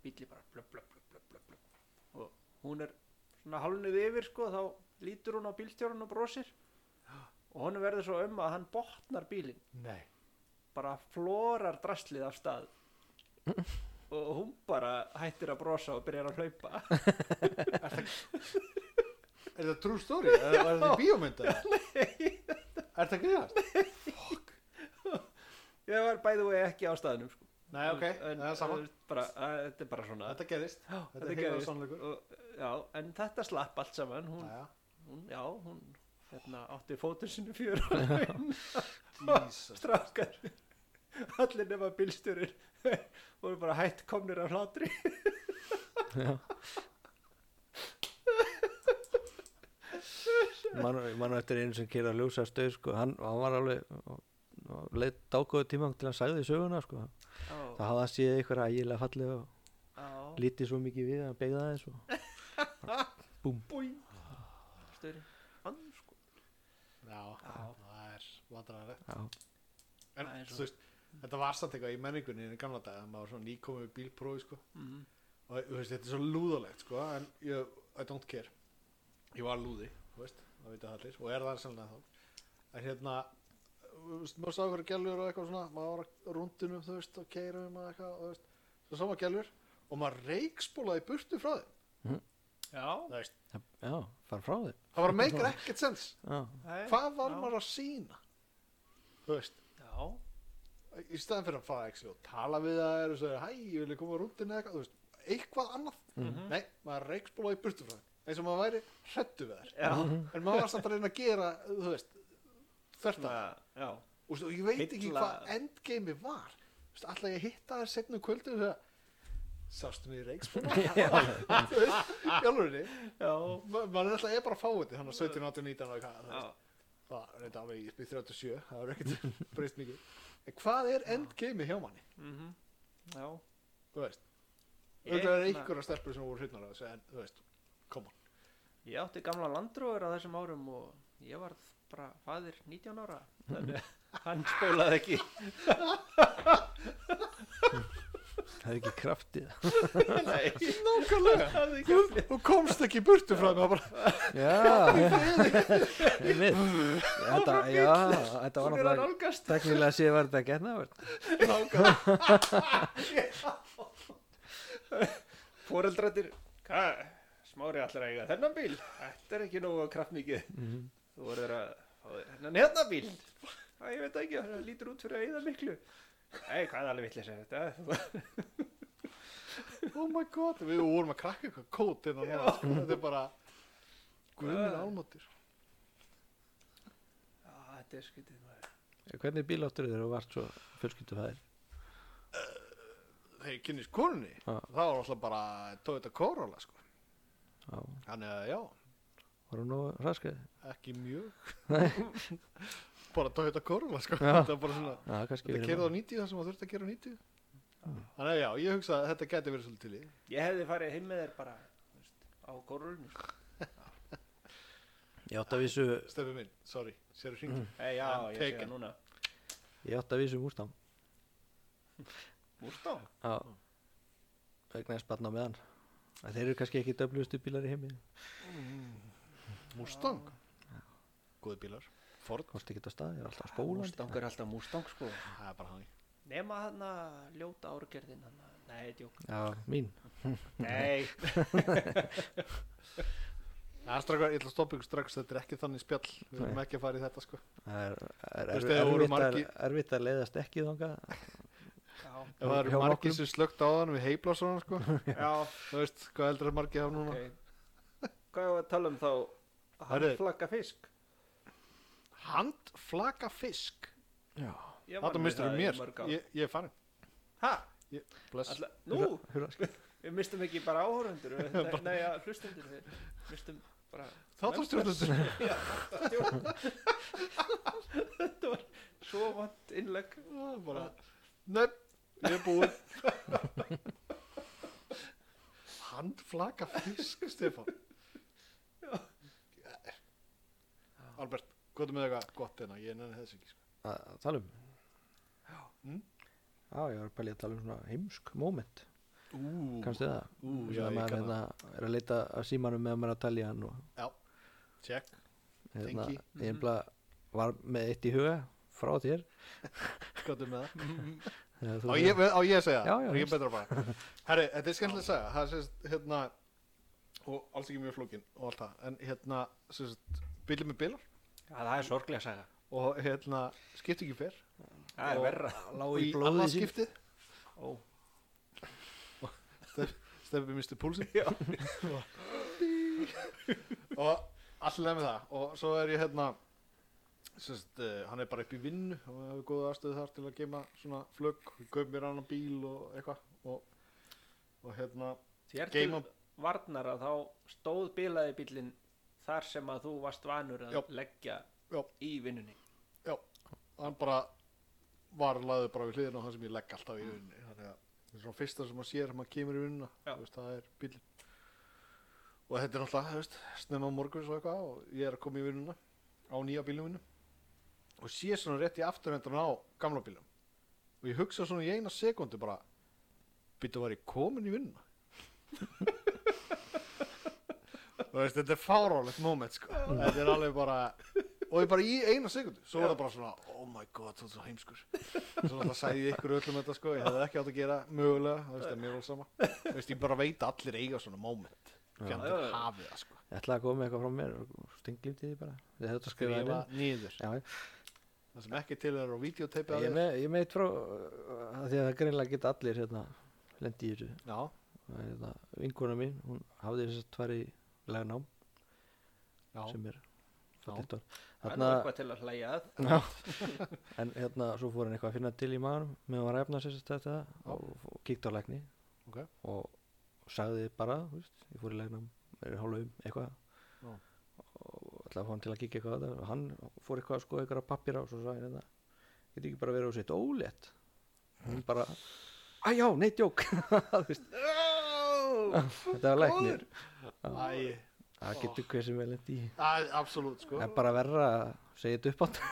Speaker 1: bíli bara blöp, blöp, blöp, blöp, blöp, blöp. og hún er svona hálnuð yfir sko þá lítur hún á bílstjórun og brosir og honum verður svo um að hann botnar bílinn
Speaker 2: Nei
Speaker 1: bara flórar draslið af stað og hún bara hættir að brosa og byrjar að hlaupa
Speaker 2: Er þetta true story? Er, er þetta bíómynd? Nei Er þetta gríðast?
Speaker 1: ég var bæði og ekki á staðnum sko.
Speaker 2: Nei, ok, það er sama
Speaker 1: þú veist, bara, að, þetta er bara svona
Speaker 2: Þetta gerist
Speaker 1: já,
Speaker 2: þetta er heilagur
Speaker 1: gerðist.
Speaker 2: sannleikur.
Speaker 1: og, já, en þetta slapp allt saman hún,
Speaker 2: Jæja.
Speaker 1: hún, já, hún hérna, átti fótur sinni fjör
Speaker 2: *laughs*
Speaker 1: og *laughs*
Speaker 2: Jesus.
Speaker 1: strákar allir nema bílstjórir *laughs* voru bara hætt komnir af hlátri
Speaker 3: mann man eftir einu sem kýra að ljósa stöð sko, hann, hann var alveg og- og leitt dágóðu tíma til hann sagði söguna sko.
Speaker 1: *laughs* Ó,
Speaker 3: það hafði hann séð eitthvað ægilega fallið og
Speaker 1: á,
Speaker 3: lítið svo mikið við að hann beigða aðeins og
Speaker 1: búi störi hann sko
Speaker 2: Já,
Speaker 1: Já.
Speaker 2: það er vandræðilegt
Speaker 3: já,
Speaker 2: En
Speaker 1: Það er svo.
Speaker 2: þú veist, þetta var samt eitthvað í menningunni í gamla dag, það maður svona nýkomið við bílprófi sko.
Speaker 1: mm.
Speaker 2: og þú veist, þetta er svo lúðalegt sko, en ég, I don't care ég var lúði, þú veist, það vita það allir og er það sannlega þá en hérna, þú veist, maður sá eitthvað gælur og eitthvað svona, maður var á rúndinu þú veist, og keirum og eitthvað, þú veist svo sá maður gælur og maður reikspólaði burtu frá þeim,
Speaker 1: já,
Speaker 2: þú veist
Speaker 3: já fara frá þér
Speaker 2: það var
Speaker 1: *laughs*
Speaker 2: meikir ekkert sens,
Speaker 3: já,
Speaker 1: það er-
Speaker 2: hvað var
Speaker 1: Já.
Speaker 2: maður að sína þú veist
Speaker 1: já,
Speaker 2: í staðan fyrir að fara ekki og tala við það og segja hæ, ég vilja koma rúndin eða eitthvað, þú veist, eitthvað annað
Speaker 1: Mhm.
Speaker 2: nei, maður reikspólaði í burtu frá þeim eins og maður væri hrættu við þær
Speaker 1: já,
Speaker 2: en maður var samt að reyna að gera, þú veist þörta,
Speaker 1: svona, já.
Speaker 2: og, veist, og ég veit ekki
Speaker 1: Heilla-
Speaker 2: hvað endgameið var Þú veist, alltaf ég hitta þær setnum kvöldu og segja, sástu mig í
Speaker 1: *laughs*
Speaker 2: reikspóla *laughs* þú veist, jálfurinni
Speaker 1: já,
Speaker 2: Ma- maður er alltaf ég bara fáið þannig að 17, 18, 19 og eitthvað, þú veist.
Speaker 1: já.
Speaker 2: það er þetta alveg í 37 það er ekkert *laughs* breyst mikið en hvað er endgameið hjá manni?
Speaker 1: mhm, já.
Speaker 2: þú veist
Speaker 1: Ég-
Speaker 2: auðvitað er
Speaker 1: na-
Speaker 2: einhverja stelpur sem voru hrifnar af þessu en þú veist, koma
Speaker 1: Ég átti gamla landróður á þessum árum og ég var bara fadir 19 ára þannig að Mhm. *laughs* hann spólaði ekki
Speaker 3: það er ekki kraftið
Speaker 1: *laughs* Nei,
Speaker 2: nákvæmlega
Speaker 1: hafði ekki
Speaker 2: Þú- þú komst ekki í burtu frá mig bara,
Speaker 3: já einmitt þetta, já, þetta var
Speaker 1: Hún er að
Speaker 3: náttúrulega
Speaker 1: nálgast
Speaker 3: teknilega séð var þetta getnavert
Speaker 2: nákvæmlega
Speaker 1: Fóreldrættir, hvað, smári allir að eiga þennan bíl Þetta er ekki nógu kraftmikið Þú voruður að fá þér þennan hérna bíl Það ég veit ekki, það lítur út fyrir að eða miklu Nei, hvað er alveg vitlega sér þetta
Speaker 2: *laughs* oh my god, við vorum að krakka eitthvað kót innan nála, sko. þetta er bara guðminn
Speaker 1: Hvað?
Speaker 2: álmóttir
Speaker 1: *laughs* Já, Þetta er skytið maður
Speaker 3: hvernig bíl áttur þeir og vart svo fjölskyldu fæðir
Speaker 2: þegar ég kynnist konunni
Speaker 3: Já.
Speaker 2: það var alltaf bara Toyota Corolla sko.
Speaker 3: já,
Speaker 2: þannig að já,
Speaker 3: var hún nú raskrið
Speaker 2: ekki mjög *laughs* bara Toyota Corolla sko.
Speaker 3: Já.
Speaker 2: þetta er bara svona
Speaker 3: já, kannski
Speaker 2: þetta
Speaker 3: verið
Speaker 2: kerði á
Speaker 3: mál.
Speaker 2: 90 það sem það þurfti að gera á 90 þannig að já, ég hugsa að þetta geti verið svolítið til í
Speaker 1: Ég hefði farið heim með þér bara þú veist, á korulunni
Speaker 3: ég átt að vissu
Speaker 2: Steffi minn, sorry, sér hringi
Speaker 1: Hey, já,
Speaker 2: I'm
Speaker 1: ég sé
Speaker 2: taken.
Speaker 1: það núna
Speaker 3: ég átti að vísa um úrstang
Speaker 1: Mustang?
Speaker 3: Já vegna þess barna með hann Að þeir eru kannski ekki döflustu bílar í heimi
Speaker 2: Mustang Góði bílar Ford
Speaker 3: komst ekki á stað, ég er alltaf spólandi
Speaker 1: Mustang er alltaf Mustang sko
Speaker 2: Það er bara hann
Speaker 1: Nema hann að ljóta árgerðin hann Nei, djók
Speaker 3: Já, mín
Speaker 1: Nei,
Speaker 2: Það er strax, ég ætla að stoppa ykkur strax Þetta er ekki þannig spjall Við erum ekki að fara í þetta sko
Speaker 3: Það er, er,
Speaker 2: Þú
Speaker 3: er,
Speaker 2: veist, ef það voru
Speaker 3: erfitt, að,
Speaker 2: margir-
Speaker 3: erfitt að leiðast ekki þangað
Speaker 1: já,
Speaker 2: Ef það eru
Speaker 3: Hjá
Speaker 2: margir
Speaker 3: nokkrum.
Speaker 2: sem slögt á þann við heiblar svona sko
Speaker 1: já
Speaker 2: Þú veist, hvað heldur að margir hafa núna
Speaker 1: okay. Hvað er að tala um þá? Hann
Speaker 2: Herðu.
Speaker 1: flagga fisk
Speaker 2: Handflaka fisk
Speaker 3: Já,
Speaker 1: Ég vann
Speaker 2: Þetta
Speaker 1: við
Speaker 2: mistur
Speaker 1: það
Speaker 2: um
Speaker 1: í
Speaker 2: mér
Speaker 1: mörg ár.
Speaker 2: Ég, ég er farin
Speaker 1: Ha?
Speaker 2: Bless
Speaker 1: Alla, nú,
Speaker 3: hurra, hurra,
Speaker 1: við mistum ekki bara áhórundur Nei, ja, hlustundur Við mistum bara
Speaker 2: Þáttarstjórnundur
Speaker 1: Já, þáttastjórn. Þetta var svo vant innlegg
Speaker 2: bara, Nei, ég er búinn *laughs* Handflaka fisk, Stefán Albert, hvað er með eitthvað gott hérna? Ég nenni þess ekki sko.
Speaker 3: að að tala um
Speaker 2: Mm.
Speaker 3: Já, ég var að pæli að tala um svona heimsk moment
Speaker 2: Ú,
Speaker 3: Kannstu það?
Speaker 2: ú, já,
Speaker 3: Svona
Speaker 2: ég
Speaker 3: að maður
Speaker 2: kann það
Speaker 3: hérna, er að leita að símanum meðan maður er að tala í hann og
Speaker 2: Check,
Speaker 3: hérna,
Speaker 2: Tengi. Mhm.
Speaker 3: ég bara var með eitt í huga frá þér
Speaker 2: hvað er með það? Á
Speaker 3: þegar þú-
Speaker 2: ég, á ég að segja
Speaker 3: Já,
Speaker 2: það?
Speaker 3: já,
Speaker 2: Er ég
Speaker 3: víst.
Speaker 2: betra bara
Speaker 3: *laughs*
Speaker 2: Herri, þetta er skemmtilega að segja Það er sérst, hérna Og alls ekki mjög flókin og allt það En hérna, sérst, bílum með bílar
Speaker 1: Já, það er sorglega að segja
Speaker 2: Og hérna, skipt ekki fyrr
Speaker 1: Það er
Speaker 2: Og-
Speaker 1: verra
Speaker 3: lá
Speaker 2: Og
Speaker 3: í
Speaker 2: í
Speaker 3: blóðið
Speaker 2: annað
Speaker 3: sín
Speaker 2: skiptið
Speaker 1: Ó,
Speaker 2: stefið misti púlsin og allir með það og svo er ég hérna sérst, uh, hann er bara upp í vinnu og við hefur góða aðstöðu þar til að geima svona flögg, við kaupum mér annan bíl og eitthvað og, og hérna
Speaker 1: þér til
Speaker 2: Game
Speaker 1: varnar að þá stóð bilaði bílinn þar sem að þú varst vanur að
Speaker 2: Já.
Speaker 1: leggja
Speaker 2: Já.
Speaker 1: í vinnunni
Speaker 2: hann bara var laður bara við hliðina á hann sem ég legg alltaf í vinnu þannig að það er svona fyrsta sem maður sér þegar maður kemur í vinnuna
Speaker 1: Já.
Speaker 2: þú veist, það er bílinn og þetta er náttúrulega þú veist, snemma morguns og eitthvað og ég er að koma í vinnuna á nýja bílum mínum og sé svona rétt í afturvendan á gamla bílum og ég hugsa svona í eina sekundu bara byrju var ég komin í vinnuna *laughs* þú veist þetta er fárálegt moment sko þetta er alveg bara og ég bara í eina sekundu svo var það bara svona oh my god þú ert svo heimskur svona það sagði ég ykkur öllum þetta sko ég hefði ekki átt að gera mögulega þú veist það er mjög vel sama þú veist ég bara veit að allir eiga svona moment
Speaker 1: Já, já,
Speaker 2: fjandir
Speaker 1: já.
Speaker 2: hafið það sko
Speaker 3: Ég ætlaði að koma með eitthvað frá mér og stinglimti því bara Þið hefðu þetta skrifað
Speaker 2: skrifa
Speaker 3: niður.
Speaker 2: niður
Speaker 3: Já, já.
Speaker 2: það sem ekki til er á videoteipi
Speaker 3: ég er með, ég er með eitt frá uh, að því að það greinlega geta allir hérna, lendi í þessu
Speaker 2: já
Speaker 3: Það er hérna, vinkona mín, hún hafði þess að tvær í lagnám
Speaker 2: já
Speaker 3: sem er fallegt orð
Speaker 1: Það er
Speaker 3: Þarna,
Speaker 1: eitthvað til að hlæja að
Speaker 3: Já. en hérna svo fór hann eitthvað að finna til í maðurum með að var efna sér þetta þetta og, og kíkt á lækni
Speaker 2: Ok.
Speaker 3: og, og sagði bara þú veist, ég fór í læknum, er hálfa um eitthvað
Speaker 2: Já.
Speaker 3: og ætlaði að fá hann til að kíkja eitthvað á þetta og hann fór eitthvað að sko eitthvað pappir á svo sagði hann þetta geti ekki bara verið á sitt ólétt hún bara að já, neitt jók *laughs* Þú veist, þetta var læknir
Speaker 2: Æ,
Speaker 3: það getur hver sem vel endi í
Speaker 2: Æ, absolutt sko
Speaker 3: það er bara verra að segja þetta upp átt
Speaker 2: Já,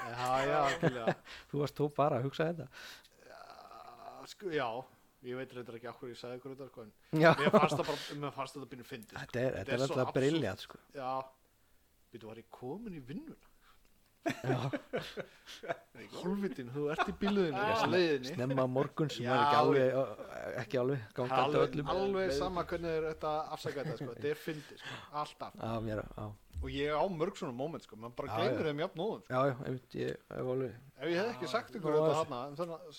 Speaker 2: já, algjörlega
Speaker 3: *laughs* þú varst þú bara að hugsa þetta
Speaker 2: Já, sko, Já, ég veit reyndar ekki okkur ég sagði ykkur þetta sko, en
Speaker 3: já
Speaker 2: Mér fannst það bara, mér fannst þetta býnum fyndið sko.
Speaker 3: Þetta er,
Speaker 2: er
Speaker 3: þetta er
Speaker 2: svo
Speaker 3: alltaf
Speaker 2: absúrt.
Speaker 3: briljant sko.
Speaker 2: Já, býttu var ég komin í vinnuna Hólfitin, þú ert í bíluðinu á leiðinni
Speaker 3: Snemma morgun sem
Speaker 2: Já,
Speaker 3: er ekki alveg, ekki alveg gangandi
Speaker 2: Alveg,
Speaker 3: um öllum
Speaker 2: alveg sama hvernig er þetta afsaka þetta sko. Þetta er fyndið, sko. alltaf
Speaker 3: Já, mér, já,
Speaker 2: Og ég á mörg svona moment, sko, mann bara
Speaker 3: Já,
Speaker 2: gleymir
Speaker 3: já.
Speaker 2: þeim jafnóðum sko.
Speaker 3: já, já, einmitt, ég hef alveg
Speaker 2: Ef ég hef ekki sagt ykkur
Speaker 3: Já,
Speaker 2: þetta um
Speaker 3: þessi.
Speaker 2: hana Þannig að, þú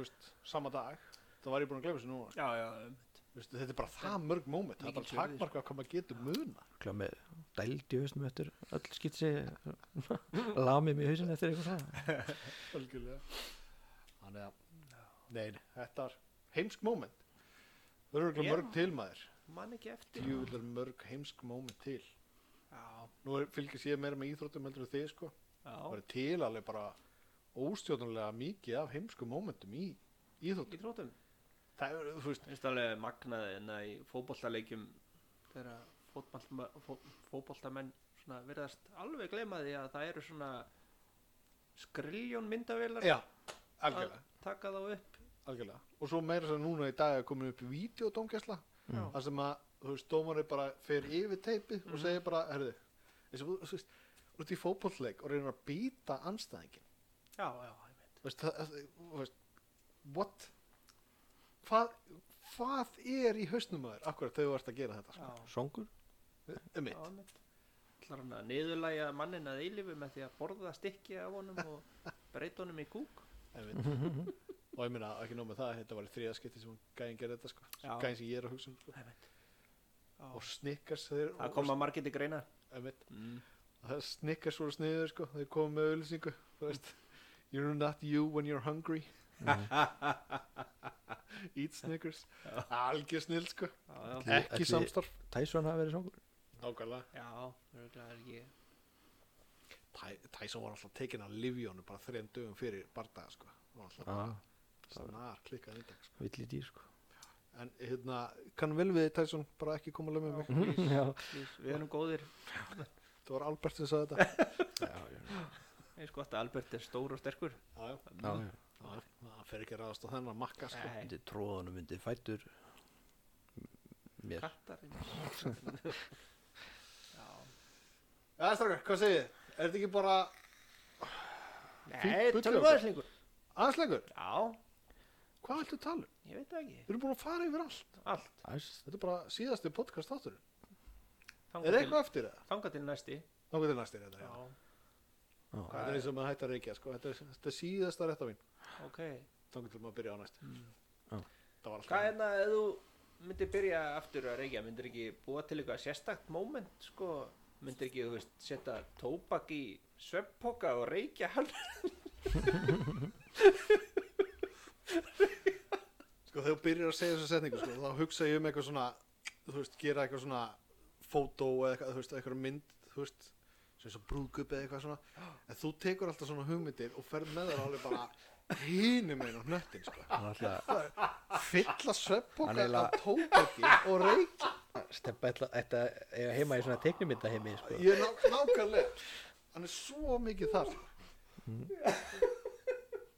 Speaker 2: veist, sama dag Það var ég búin að gleyma þessu núna sko.
Speaker 1: Já, já, um,
Speaker 2: Vistu, þetta er bara það mörg móment, það er bara
Speaker 1: Mikil fjörður.
Speaker 2: takmarka hvað maður getur muna.
Speaker 3: klá með dæld í hausnum eftir öll skitsi *laughs* lamið mig í hausinu eftir eitthvað svona
Speaker 2: Algjörlega. Þannig að, nein, þetta er heimsk móment. Það eru örugglega
Speaker 1: Já.
Speaker 2: mörg til maður,
Speaker 1: mann ekki eftir
Speaker 2: jú, það eru mörg heimsk móment til.
Speaker 1: Já,
Speaker 2: Nú er, fylgis ég meira með íþróttum heldur en þið, sko. Það
Speaker 1: já,
Speaker 2: eru til alveg bara óstjórnulega mikið af heimsku mómentum í íþróttum.
Speaker 1: í trótum
Speaker 2: Það eru, þú veist,
Speaker 1: finnst alveg magnaði en að í fótboltaleikjum þegar fótboltama- fó- fótboltamenn svona virðast alveg gleyma því að það eru svona skriljón myndavélar
Speaker 2: já,
Speaker 1: að
Speaker 2: algjörlega,
Speaker 1: taka þá upp
Speaker 2: algjörlega og svo meira sem núna í dag er komin upp videodómgæsla
Speaker 1: Já.
Speaker 2: þar sem að, þú veist, dómari bara fer yfir teipið
Speaker 1: Mhm.
Speaker 2: og segir bara, herðu eins og þú- þú veist, út í fótbollleik og reynir að býta anstæðingin
Speaker 1: Já, já, ég veit
Speaker 2: Þú veist, það- það- þú veist, what hvað, hvað er í hausnum að þér akkurat þegar þú ert að gera þetta sko?
Speaker 1: Já,
Speaker 3: songur
Speaker 1: *laughs* já, ég
Speaker 2: um
Speaker 1: veit Ætlar hann að niðurlægja mannin að eilífu með því að borða stikki af honum og breyta honum í kúk
Speaker 2: einmitt og ég meina ekki nóg með það, þetta var í þriða skipti sem hún gæðin gerði þetta sko,
Speaker 1: Já.
Speaker 2: gæðin sem ég er að hugsa um sko.
Speaker 1: Ég veit
Speaker 2: og snikkars þeir um
Speaker 1: Það kom að margir til greina
Speaker 2: einmitt,
Speaker 1: mm.
Speaker 2: það snikkars voru sniður sko, þeir komu með auðlýsingu þú veist, you're not you when you're hungry Mm. *laughs* eat snickers algjör snill sko,
Speaker 1: Já, já,
Speaker 3: Ætli-
Speaker 2: ekki
Speaker 3: ætli-
Speaker 2: samstarf
Speaker 3: Tyson hafi verið songur
Speaker 2: nákvæmlega,
Speaker 1: já, örugglega er ég
Speaker 2: Ty- Tyson var alltaf tekinn af livjónu bara þrejum dögum fyrir bardaga sko, var alltaf
Speaker 3: ah,
Speaker 2: snar klikkað yndag sko.
Speaker 3: villi dýr sko
Speaker 2: en hérna, kann vel við þig, Tyson bara ekki koma alveg með mig,
Speaker 3: já,
Speaker 1: Please, Við erum góðir
Speaker 2: það var Albert sem sagði þetta
Speaker 3: já, já,
Speaker 1: Eins gott að sko, Albert er stór og sterkur
Speaker 2: *laughs* já, já,
Speaker 3: já, já.
Speaker 2: Já, það fer ekki að ráðast á þennan makka sko.
Speaker 1: Nei,
Speaker 3: Myndi tróðanum myndi fætur mér
Speaker 1: kattar Já
Speaker 2: Já, strákar, hvað segið þið? Er þetta ekki bara
Speaker 1: Nei,
Speaker 2: bull
Speaker 1: tölum
Speaker 2: hjá
Speaker 1: aðeins lengur
Speaker 2: aðeinslegur?
Speaker 1: Já,
Speaker 2: Hvað ættu að tala um?
Speaker 1: ég veit það ekki
Speaker 2: Við erum búin að fara yfir allt.
Speaker 1: Allt,
Speaker 3: Æst,
Speaker 2: Þetta er bara síðasti podcast þátturinn. Er
Speaker 1: þangað til,
Speaker 2: eitthvað eftir það?
Speaker 1: þanga til næsti
Speaker 2: Nákvæm til næstir þetta, já.
Speaker 1: Já,
Speaker 3: já,
Speaker 2: Þetta er eins og maður hætti að reykja, sko. Þetta er, þetta er síðasta rétt af mín.
Speaker 1: ok
Speaker 2: Nákvæm til maður byrja á næst.
Speaker 3: Já.
Speaker 2: Það var
Speaker 1: Hvað
Speaker 2: alltaf.
Speaker 1: hérna, ef þú myndir byrja aftur að reykja myndir ekki búa til eitthvað sérstakt moment sko, myndir ekki, þú veist, setja tóbak í sveppoka og reykja hann
Speaker 2: Sko, þegar þú byrjar að segja þessu setningu, sko, þá hugsa ég um eitthvað svona, þú veist, gera eitthvað svona fótó eða eitthvað, þú veist, eitthvað mynd, þú veist, sem svo brúðgup eða eitthvað svona. En þú tekur alltaf svona hugmyndir og ferð með þar alveg bara hínum einn á hnöttin, sko.
Speaker 3: hann ætla
Speaker 2: fylla
Speaker 3: Hann
Speaker 2: sveppoka af
Speaker 3: eiginlega-
Speaker 2: tóbaki og reik
Speaker 3: steppa ætla þetta eiga heima í svona teiknumynda heimi sko.
Speaker 2: ég er ná, nákvæmlega hann er svo mikið þar sko.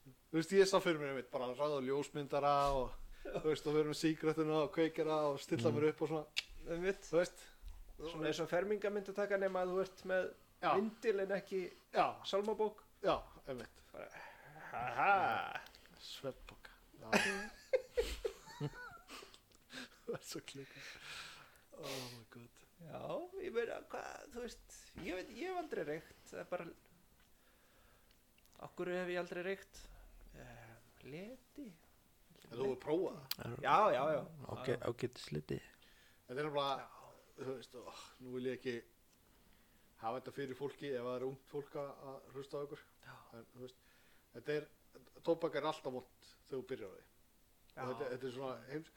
Speaker 2: þú veist ég sá fyrir mér einmitt bara ráða ljósmyndara og þú veist og verðum síkrettina og kveikjara og stilla mér upp og svona þú veist
Speaker 1: Svona eins og ferminga myndir taka nema að þú ert með
Speaker 2: Já.
Speaker 1: vindil en ekki
Speaker 2: já,
Speaker 1: salmabók
Speaker 2: já, einmitt
Speaker 1: Haha
Speaker 2: sveppoka *laughs* það er svo klika oh my god
Speaker 1: Já, ég meina, hvað, þú veist ég veit, ég hef aldrei reykt það er bara Akkur hef ég aldrei reykt uh, Leti
Speaker 2: en þú er prófað það
Speaker 1: Já, já, já
Speaker 3: ágæ- ágætis liti
Speaker 2: Þetta er bara, þú veist, ó, nú vil ég ekki hafa þetta fyrir fólki ef það er ungt fólk að að hlusta á ykkur.
Speaker 1: Já.
Speaker 2: En, þú veist, þetta er, tóbak er alltaf vond þegar þú byrjar á því.
Speaker 1: Já.
Speaker 2: Og Þetta, þetta er svona heims...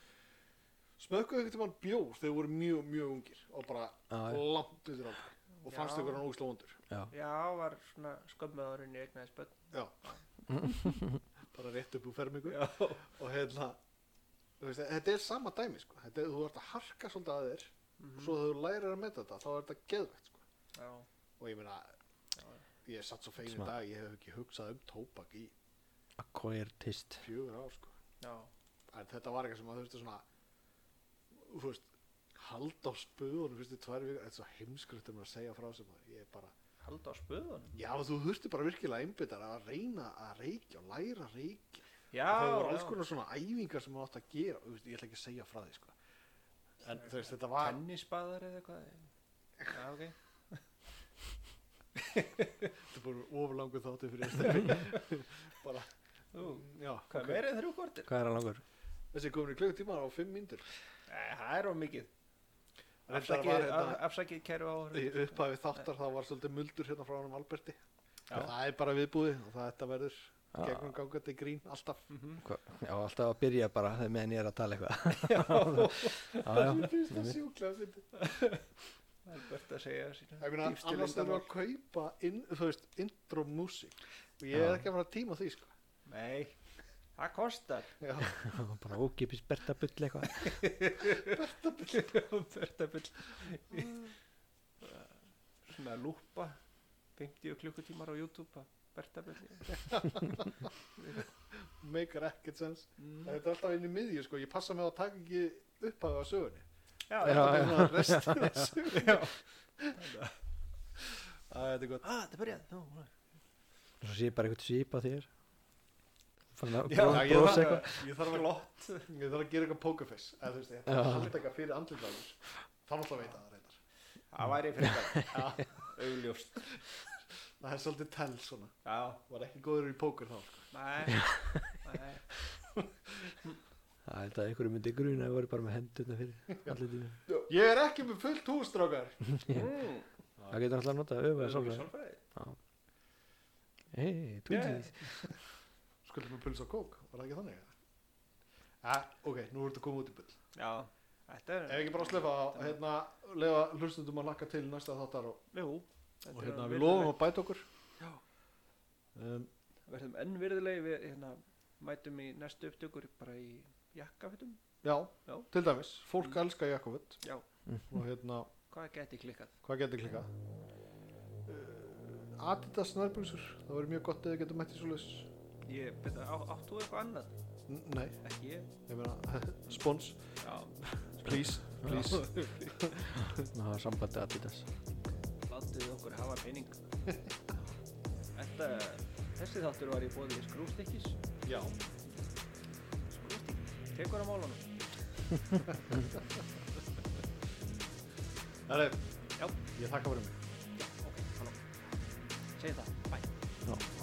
Speaker 2: Smökkuðu ykkur til mann bjór þegar þú voru mjög, mjög ungir og bara
Speaker 3: Já, já.
Speaker 2: langt undir aldrei og
Speaker 1: Já.
Speaker 2: fannst ykkur hann ógislega vondur.
Speaker 3: já,
Speaker 1: Já, var svona skömmuðurinn í eignaði spöld.
Speaker 2: Já. bara rétt upp úr fermingu.
Speaker 1: Já.
Speaker 2: og hérna þú veist, þetta er sama dæmi sko. þetta, er- þú ert að harka svolítið að þér og svo þegar þú lærir að meta þetta þá er þetta geðvægt sko.
Speaker 1: Mhm. Já.
Speaker 2: og ég meina ég er satt svo fegin í
Speaker 3: Svona-
Speaker 2: dag ég hef ekki hugsað um tóbak í
Speaker 3: akkoirtist
Speaker 2: fjögur ár sko.
Speaker 1: Já.
Speaker 2: en þetta var eitthvað sem að þú veist svona þú veist halda á spöðunum fyrstu tvær vikar þetta er svo heimskrutt um að segja frá sem að ég er bara
Speaker 1: Halda á spöðunum.
Speaker 2: já þú þurfti bara virkilega einbyttar að reyna að reykja og læra að reykja
Speaker 1: Já.
Speaker 2: það voru alls
Speaker 1: já.
Speaker 2: konar svona æfingar sem maður átt að gera þú veist, ég ætla ekki að segja frá því sko. en þú veist þetta var
Speaker 1: Tennisbaðar eða eitthvað. Já, ok.
Speaker 2: þetta búið ofurlangu þáttu fyrir einstakling.
Speaker 1: *laughs*
Speaker 2: bara,
Speaker 1: Ú,
Speaker 2: já,
Speaker 1: hvað
Speaker 2: ok.
Speaker 1: okay. meirið þrjú kvartir?
Speaker 3: hvað er hann langur?
Speaker 2: þessi er komin í klukkutíma á fimm mínútur
Speaker 1: Nei, það er of mikið.
Speaker 2: Reyndar
Speaker 1: Afsakið,
Speaker 2: var
Speaker 1: var,
Speaker 2: hérna-
Speaker 1: afsakið kæru áhör.
Speaker 2: í upphafi þáttar það var svolítið muldur hérna frá hann um Alberti
Speaker 1: Já.
Speaker 2: það er bara viðbúið og það þetta verður
Speaker 3: Já.
Speaker 2: gegnum gangandi grín alltaf
Speaker 1: Mhm. *laughs*
Speaker 3: Hva? já, alltaf að byrja bara þegar meðan ég er að tala eitthvað já, já,
Speaker 2: Mér finnst það sjúklega fyndið.
Speaker 1: Albert að segja sína.
Speaker 2: Ég meina,
Speaker 1: dýpstu
Speaker 2: annars þurfum við
Speaker 1: leyndarmál.
Speaker 2: að kaupa inn, þú veist, intro music og ég er
Speaker 3: Já.
Speaker 2: ekki að fara að tíma því sko.
Speaker 1: Nei, það *laughs* kostar.
Speaker 2: Já.
Speaker 3: *laughs* bara ókipis bertabull eitthvað
Speaker 1: Bertabull. Svona lúpa. 50 klukkutímar á YouTube. Bertabelli
Speaker 2: Maker ekkert sens
Speaker 1: mm.
Speaker 2: Þetta er alltaf inn í miðju sko, ég passa mig á að taka ekki upphafa á sögunni
Speaker 1: Já,
Speaker 2: Það
Speaker 1: já
Speaker 2: er
Speaker 3: Já.
Speaker 2: alltaf svona restin
Speaker 3: *laughs*
Speaker 2: af sögunni
Speaker 1: Já.
Speaker 2: Æ, Þetta er gott
Speaker 1: Ah, þetta byrjaði Nú, nú.
Speaker 3: Svo sé ég bara eitthvað svipa þér Fann að
Speaker 2: Já,
Speaker 3: bró-
Speaker 2: ég
Speaker 3: brosa
Speaker 2: þarf-
Speaker 3: eitthvað
Speaker 2: Ég þarf að lott Ég þarf að gera eitthvað pokerface eða þú veist, ég þarf að
Speaker 3: Já.
Speaker 2: halda eitthvað fyrir andlitaður Það náttúrulega veit að það reyndar
Speaker 1: Það væri frekar Augljóst
Speaker 2: Það er svolítið tell svona
Speaker 1: Já,
Speaker 2: Var ekki góður í póker þá sko.
Speaker 1: nei, nei.
Speaker 3: Það held að einhverju myndi gruna að voru bara með hendurna fyrir andlitinu.
Speaker 2: Ég er ekki með fullt hústrákar
Speaker 1: Mm.
Speaker 3: Það getur alltaf að nota að öfa
Speaker 1: Það er
Speaker 3: að
Speaker 1: svo
Speaker 3: sálfræði.
Speaker 1: sálfræði
Speaker 3: Hei, tundið.
Speaker 2: Skuldum við puls á kók, var það ekki þannig? Ja, ok, nú ertu að koma út í bull
Speaker 1: Já, þetta er
Speaker 2: Ef ekki bara að slefa að hérna, lefa hlustundum að lakka til næsta þáttar og,
Speaker 1: Jú, þetta
Speaker 2: og
Speaker 1: er
Speaker 2: hérna
Speaker 1: orðið
Speaker 2: við lofum
Speaker 1: virðulegt.
Speaker 2: að bæta okkur
Speaker 1: Já.
Speaker 2: um,
Speaker 1: Verðum enn virðulegi Við hérna, mætum í næstu upptökur bara í jakkafutum
Speaker 2: já,
Speaker 1: Já.
Speaker 2: til dæmis, fólk
Speaker 1: Mm.
Speaker 2: elskar Jakobut
Speaker 1: Já.
Speaker 2: og hérna,
Speaker 1: Hvað gæti klikkað?
Speaker 2: hvað getur klikkað? Uh, Adidas nærbúsur, það verður mjög gott eða getur mætt í svoleiðis
Speaker 1: Ég, betur, á, áttu eitthvað annað?
Speaker 2: N- Nei,
Speaker 1: Ekki ég
Speaker 2: ég meina, *laughs* spons,
Speaker 1: Já,
Speaker 2: please, please
Speaker 3: Ná, sambandi Adidas.
Speaker 1: látið okkur hafa
Speaker 2: *laughs*
Speaker 1: pening Þetta, þessi þáttur var í bóði skrústikkis
Speaker 2: Já,
Speaker 1: Skrústikkis, tekur á málunum
Speaker 2: það er,
Speaker 1: Já.
Speaker 2: ég þakka fyrir mig
Speaker 1: Ok, halló Segðu það, bæ
Speaker 3: Já.